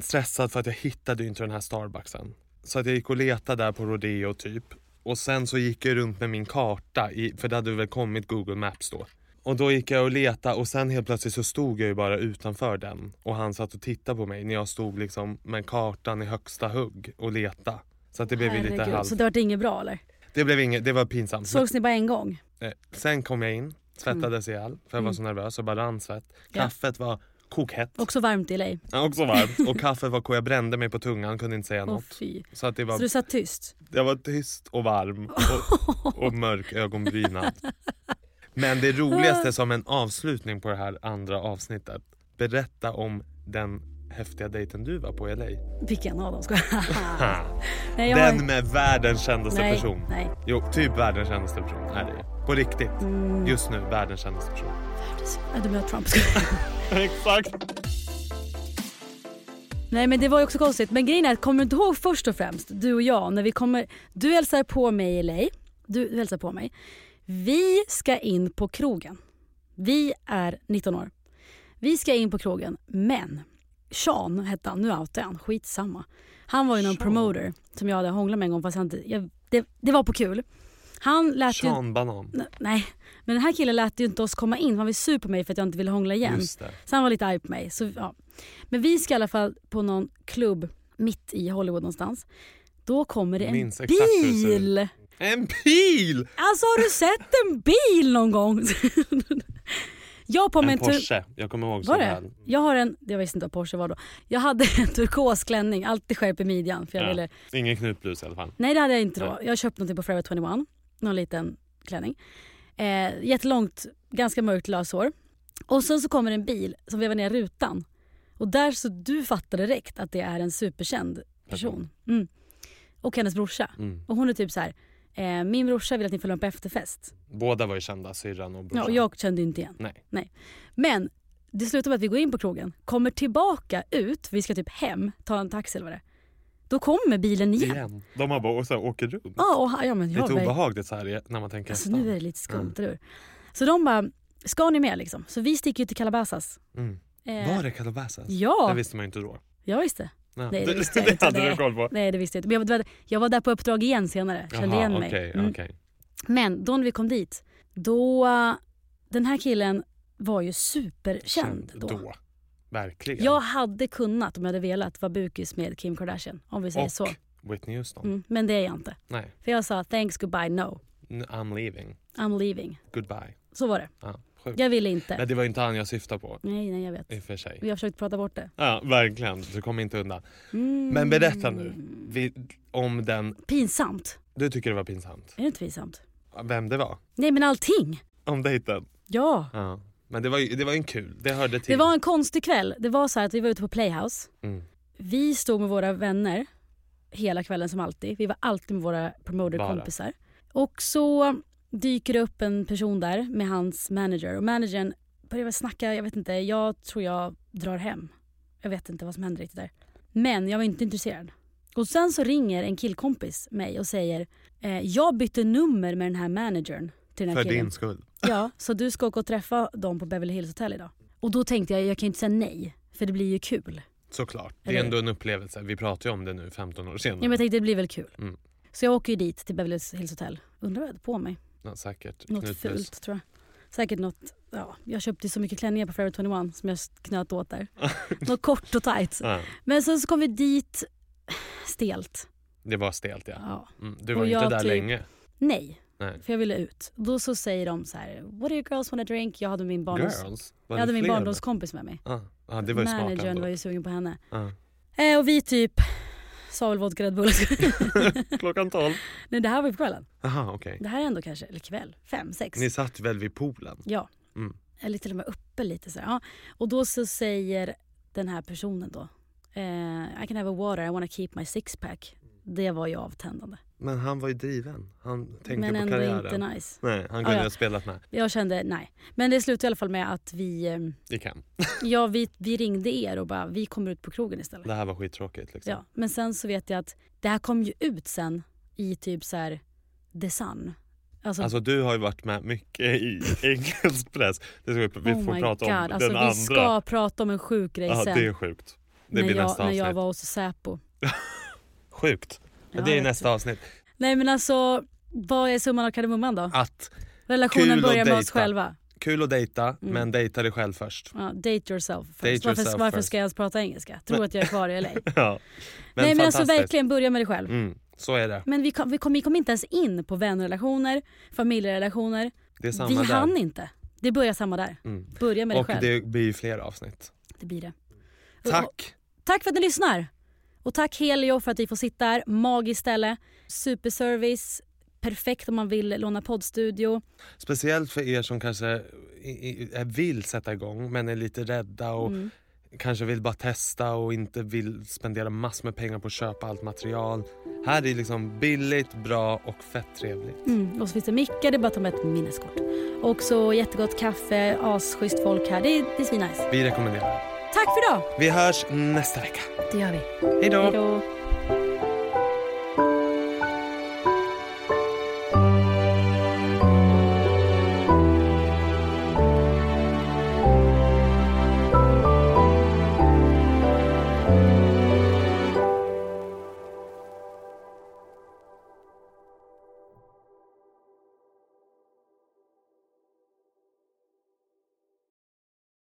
Speaker 4: stressad för att jag hittade ju inte den här Starbucksen. Så att jag gick och letade där på Rodeo typ. Och sen så gick jag runt med min karta, i, för det hade väl kommit Google Maps då. Och då gick jag och letade och sen helt plötsligt så stod jag ju bara utanför den. Och han satt och tittade på mig när jag stod liksom med kartan i högsta hugg och leta. Så att det blev ju lite
Speaker 5: Herregud,
Speaker 4: halvt.
Speaker 5: Så det vart inget bra eller?
Speaker 4: Det blev inget, det var pinsamt.
Speaker 5: Sågs ni bara en gång?
Speaker 4: Eh, Sen kom jag in, svettades ihjäl för jag var så nervös och bara rann svett.
Speaker 5: Mm. Ja.
Speaker 4: Kaffet var kokhett,
Speaker 5: Också varmt i LA?
Speaker 4: Ja, också varmt och kaffet var kokt. Jag brände mig på tungan, kunde inte säga
Speaker 5: Åh
Speaker 4: något.
Speaker 5: fy.
Speaker 4: Så att det var,
Speaker 5: Så du satt tyst?
Speaker 4: jag var tyst och varm och, och mörk ögonbrynad. Men det roligaste som en avslutning på det här andra avsnittet, berätta om den häftiga dejten du var på i LA.
Speaker 5: Vilken av dem ska jag? Nej, jag
Speaker 4: Den med världens kändaste
Speaker 5: Nej,
Speaker 4: person.
Speaker 5: nej.
Speaker 4: Jo, typ världens kändaste person är det ju. På riktigt.
Speaker 5: Mm.
Speaker 4: Just nu, världens kändaste person.
Speaker 5: Nej, du menar Trump. Ska jag-
Speaker 4: Exakt.
Speaker 5: Nej men det var ju också konstigt. Men grejen är, kommer du inte ihåg först och främst, du och jag, när vi kommer... Du hälsar på mig i LA. du hälsar på mig. Vi ska in på krogen. Vi är 19 år. Vi ska in på krogen, men Sean hette han, nu outade jag han, skitsamma. Han var ju någon promoter som jag hade hånglat med en gång fast jag inte, jag, det, det var på kul. Han lät ju...
Speaker 4: Sean Banan.
Speaker 5: N- Nej, men den här killen lät ju inte oss komma in. Han var ju sur på mig för att jag inte ville hångla igen.
Speaker 4: Just det.
Speaker 5: Så han var lite arg på mig. Så, ja. Men vi ska i alla fall på någon klubb mitt i Hollywood någonstans. Då kommer det en
Speaker 4: Minns exakt hur det ser ut.
Speaker 5: bil!
Speaker 4: En pil!
Speaker 5: Alltså har du sett en bil någon gång? jag har på mig
Speaker 4: En
Speaker 5: en, tur-
Speaker 4: Porsche. Jag kommer ihåg så
Speaker 5: Var det?
Speaker 4: väl.
Speaker 5: Jag har en, jag visste inte vad Porsche var då. Jag hade en turkos klänning, alltid skärp i midjan. För jag
Speaker 4: Ja.
Speaker 5: ville...
Speaker 4: Ingen knutblus i alla fall.
Speaker 5: Nej det hade jag inte då. Jag köpte någonting på Forever 21. Någon liten klänning. Eh, jättelångt, ganska mörkt löshår. Och sen så kommer en bil som vevar ner rutan. Och där så du fattar direkt att det är en superkänd person. Mm. Och hennes brorsa. Och hon är typ så här. Eh, min brorsa vill att ni följer med på efterfest.
Speaker 4: Båda var ju kända, syrran och brorsan.
Speaker 5: Ja, och jag kände ju inte igen.
Speaker 4: Nej.
Speaker 5: Nej. Men det slutar med att vi går in på krogen, kommer tillbaka ut, vi ska typ hem, ta en taxi eller vad det är. Då kommer bilen igen.
Speaker 4: Igen. De har bara och så här, åker runt.
Speaker 5: Ja, och, ha- ja men jag
Speaker 4: Lite
Speaker 5: var-
Speaker 4: obehagligt så här när man tänker
Speaker 5: Alltså
Speaker 4: efter.
Speaker 5: nu är det lite skumt, eller hur? Så de bara, ska ni med liksom? Så vi sticker ju till Calabasas.
Speaker 4: Mm.
Speaker 5: Eh,
Speaker 4: Var det Calabasas?
Speaker 5: Ja.
Speaker 4: Det visste man ju inte då.
Speaker 5: Ja, just det.
Speaker 4: Ja.
Speaker 5: Nej, det
Speaker 4: Du-
Speaker 5: visste jag inte.
Speaker 4: hade du
Speaker 5: Nej.
Speaker 4: koll på.
Speaker 5: Nej, det visste jag inte. Men jag var, jag var där på uppdrag igen senare, kände igen mig.
Speaker 4: okej,
Speaker 5: Mm.
Speaker 4: okej.
Speaker 5: Men då när vi kom dit, då... eh, Den här killen var ju superkänd
Speaker 4: Känd då. Verkligen.
Speaker 5: Jag hade kunnat, om jag hade velat, vara bukis med Kim Kardashian. Om vi säger
Speaker 4: och
Speaker 5: så.
Speaker 4: Whitney Houston.
Speaker 5: Mm, men det är jag inte.
Speaker 4: Nej,
Speaker 5: För jag sa thanks, goodbye, no.
Speaker 4: N- I'm leaving.
Speaker 5: I'm leaving.
Speaker 4: Goodbye.
Speaker 5: Så var det.
Speaker 4: Ja, sjukt.
Speaker 5: Jag ville
Speaker 4: Nej,
Speaker 5: inte.
Speaker 4: det var ju inte han jag syftade på.
Speaker 5: Nej, nej jag vet.
Speaker 4: I och för sig.
Speaker 5: Vi har försökt prata bort det.
Speaker 4: Ja, verkligen. Du kommer inte undan.
Speaker 5: Mm.
Speaker 4: Men berätta nu. Vi, om den...
Speaker 5: Pinsamt.
Speaker 4: Du tycker det var pinsamt.
Speaker 5: Är det inte pinsamt?
Speaker 4: Vem det var.
Speaker 5: Nej men allting.
Speaker 4: Om dejten.
Speaker 5: Ja.
Speaker 4: Ja. Men det var ju det var ju en kul. Det hörde till.
Speaker 5: Det var en konstig kväll. Det var så här att vi var ute på Playhouse.
Speaker 4: Mm.
Speaker 5: Vi stod med våra vänner hela kvällen som alltid. Vi var alltid med våra promoterkompisar. Och så dyker det upp en person där med hans manager. Och managern börjar väl snacka, jag vet inte, jag tror jag drar hem. Jag vet inte vad som hände riktigt där. Men jag var inte intresserad. Och sen så ringer en killkompis mig och säger eh, jag bytte nummer med den här managern till den här
Speaker 4: För
Speaker 5: killen.
Speaker 4: din skull.
Speaker 5: Ja, så du ska åka och träffa dem på Beverly Hills Hotel idag. Och då tänkte jag, jag kan ju inte säga nej, för det blir ju
Speaker 4: Mm.
Speaker 5: kul.
Speaker 4: Såklart. Det är
Speaker 5: Eller-
Speaker 4: ändå en upplevelse. Vi pratar ju om det nu 15 år senare.
Speaker 5: Ja, men jag tänkte det blir väl kul.
Speaker 4: Mm.
Speaker 5: Så jag åker ju dit till Beverly Hills Hotel. Undrar vad jag hade på mig?
Speaker 4: Ja, säkert.
Speaker 5: Något
Speaker 4: Knutbuss.
Speaker 5: fult tror jag. Säkert något, ja, jag köpte ju så mycket klänningar på Forever 21 som jag knöt åt där. något kort och tight.
Speaker 4: Ja,
Speaker 5: Men sen så kom vi dit stelt.
Speaker 4: det var stelt ja.
Speaker 5: Ja.
Speaker 4: Mm, du
Speaker 5: Och
Speaker 4: var ju inte
Speaker 5: jag
Speaker 4: där
Speaker 5: typ-
Speaker 4: länge.
Speaker 5: Nej,
Speaker 4: Nej.
Speaker 5: för jag ville ut. Då så säger de så här, what do you girls wanna drink? Jag hade min, barndoms...
Speaker 4: Girls? Var
Speaker 5: jag
Speaker 4: det
Speaker 5: hade min
Speaker 4: fler?
Speaker 5: barndomskompis med mig.
Speaker 4: Ja, ja, det var ju smart
Speaker 5: Managern
Speaker 4: ändå.
Speaker 5: var ju sugen på henne.
Speaker 4: Ja.
Speaker 5: Eh, och vi typ sa väl vodka Red Bull.
Speaker 4: Klockan 12.
Speaker 5: Nej det här var ju på kvällen.
Speaker 4: Jaha, okej.
Speaker 5: Det här är ändå kanske, eller kväll, fem, sex.
Speaker 4: Ni satt väl vid poolen?
Speaker 5: Ja.
Speaker 4: Mm.
Speaker 5: Eller till och med uppe lite så här. Ja. Och då så säger den här personen då. Eh, I can have a water, I wanna keep my six pack. Det var ju avtändande.
Speaker 4: Men han var ju driven. Han tänkte
Speaker 5: Men
Speaker 4: på
Speaker 5: ändå
Speaker 4: karriären.
Speaker 5: inte nice.
Speaker 4: Nej, han
Speaker 5: Ah,
Speaker 4: kunde
Speaker 5: ja.
Speaker 4: ha spelat med.
Speaker 5: Jag kände nej. Men det slutade i alla fall med att vi, eh,
Speaker 4: Det kan.
Speaker 5: ja, vi, vi ringde er och bara vi kommer ut på krogen istället.
Speaker 4: Det här var skittråkigt. Liksom.
Speaker 5: Ja, men sen så vet jag att det här kom ju ut sen i typ så här The Sun. Alltså,
Speaker 4: Alltså du har ju varit med mycket i engelsk press. Det ska vi, vi
Speaker 5: oh
Speaker 4: får
Speaker 5: my
Speaker 4: prata
Speaker 5: God.
Speaker 4: om
Speaker 5: alltså,
Speaker 4: den
Speaker 5: vi
Speaker 4: andra.
Speaker 5: ska prata om en sjuk grej
Speaker 4: ja,
Speaker 5: sen.
Speaker 4: det är sjukt. Det
Speaker 5: när,
Speaker 4: blir
Speaker 5: jag,
Speaker 4: nästa
Speaker 5: när
Speaker 4: avsnitt.
Speaker 5: jag var hos Säpo.
Speaker 4: Sjukt. det
Speaker 5: Ja, jag
Speaker 4: är
Speaker 5: vet
Speaker 4: nästa avsnitt.
Speaker 5: Nej men alltså, vad är summan av kardemumman då?
Speaker 4: Att Ah, kul
Speaker 5: Relationen
Speaker 4: att
Speaker 5: börjar med oss
Speaker 4: dejta.
Speaker 5: själva.
Speaker 4: kul att dejta,
Speaker 5: Mm.
Speaker 4: men dejta dig själv först.
Speaker 5: Ja, date yourself first.
Speaker 4: Date
Speaker 5: varför,
Speaker 4: yourself
Speaker 5: varför
Speaker 4: first.
Speaker 5: ska jag ens prata engelska? Tror att jag är kvar i LA? Nej
Speaker 4: ja. Men
Speaker 5: men alltså
Speaker 4: fantastiskt.
Speaker 5: verkligen börja med dig själv.
Speaker 4: Mm, så är det.
Speaker 5: Men vi kom, vi, kom, vi kom inte ens in på vänrelationer, familjerelationer.
Speaker 4: Det är samma
Speaker 5: Vi
Speaker 4: där. Mm.
Speaker 5: hann inte. Det börjar samma där. Börja med dig
Speaker 4: Och
Speaker 5: själv.
Speaker 4: det blir ju fler avsnitt.
Speaker 5: Det blir det.
Speaker 4: Mm. Tack!
Speaker 5: Tack för att ni lyssnar. Och tack Helio för att vi får sitta här. Magiskt ställe. Superservice. Perfekt om man vill låna poddstudio.
Speaker 4: Speciellt för er som kanske i- i- är- vill sätta igång men är lite rädda och
Speaker 5: Mm.
Speaker 4: kanske vill bara testa och inte vill spendera massor med pengar på att köpa allt material. Här är liksom billigt, bra och fett trevligt.
Speaker 5: Mm. Och så finns det mickar, det är bara att ta med ett minneskort. Och så jättegott kaffe, asschysst folk här. Det, det är svinnice.
Speaker 4: Vi rekommenderar.
Speaker 5: Tack för idag!
Speaker 4: Vi hörs nästa vecka.
Speaker 5: Det gör vi.
Speaker 4: Hej då!
Speaker 5: Hejdå!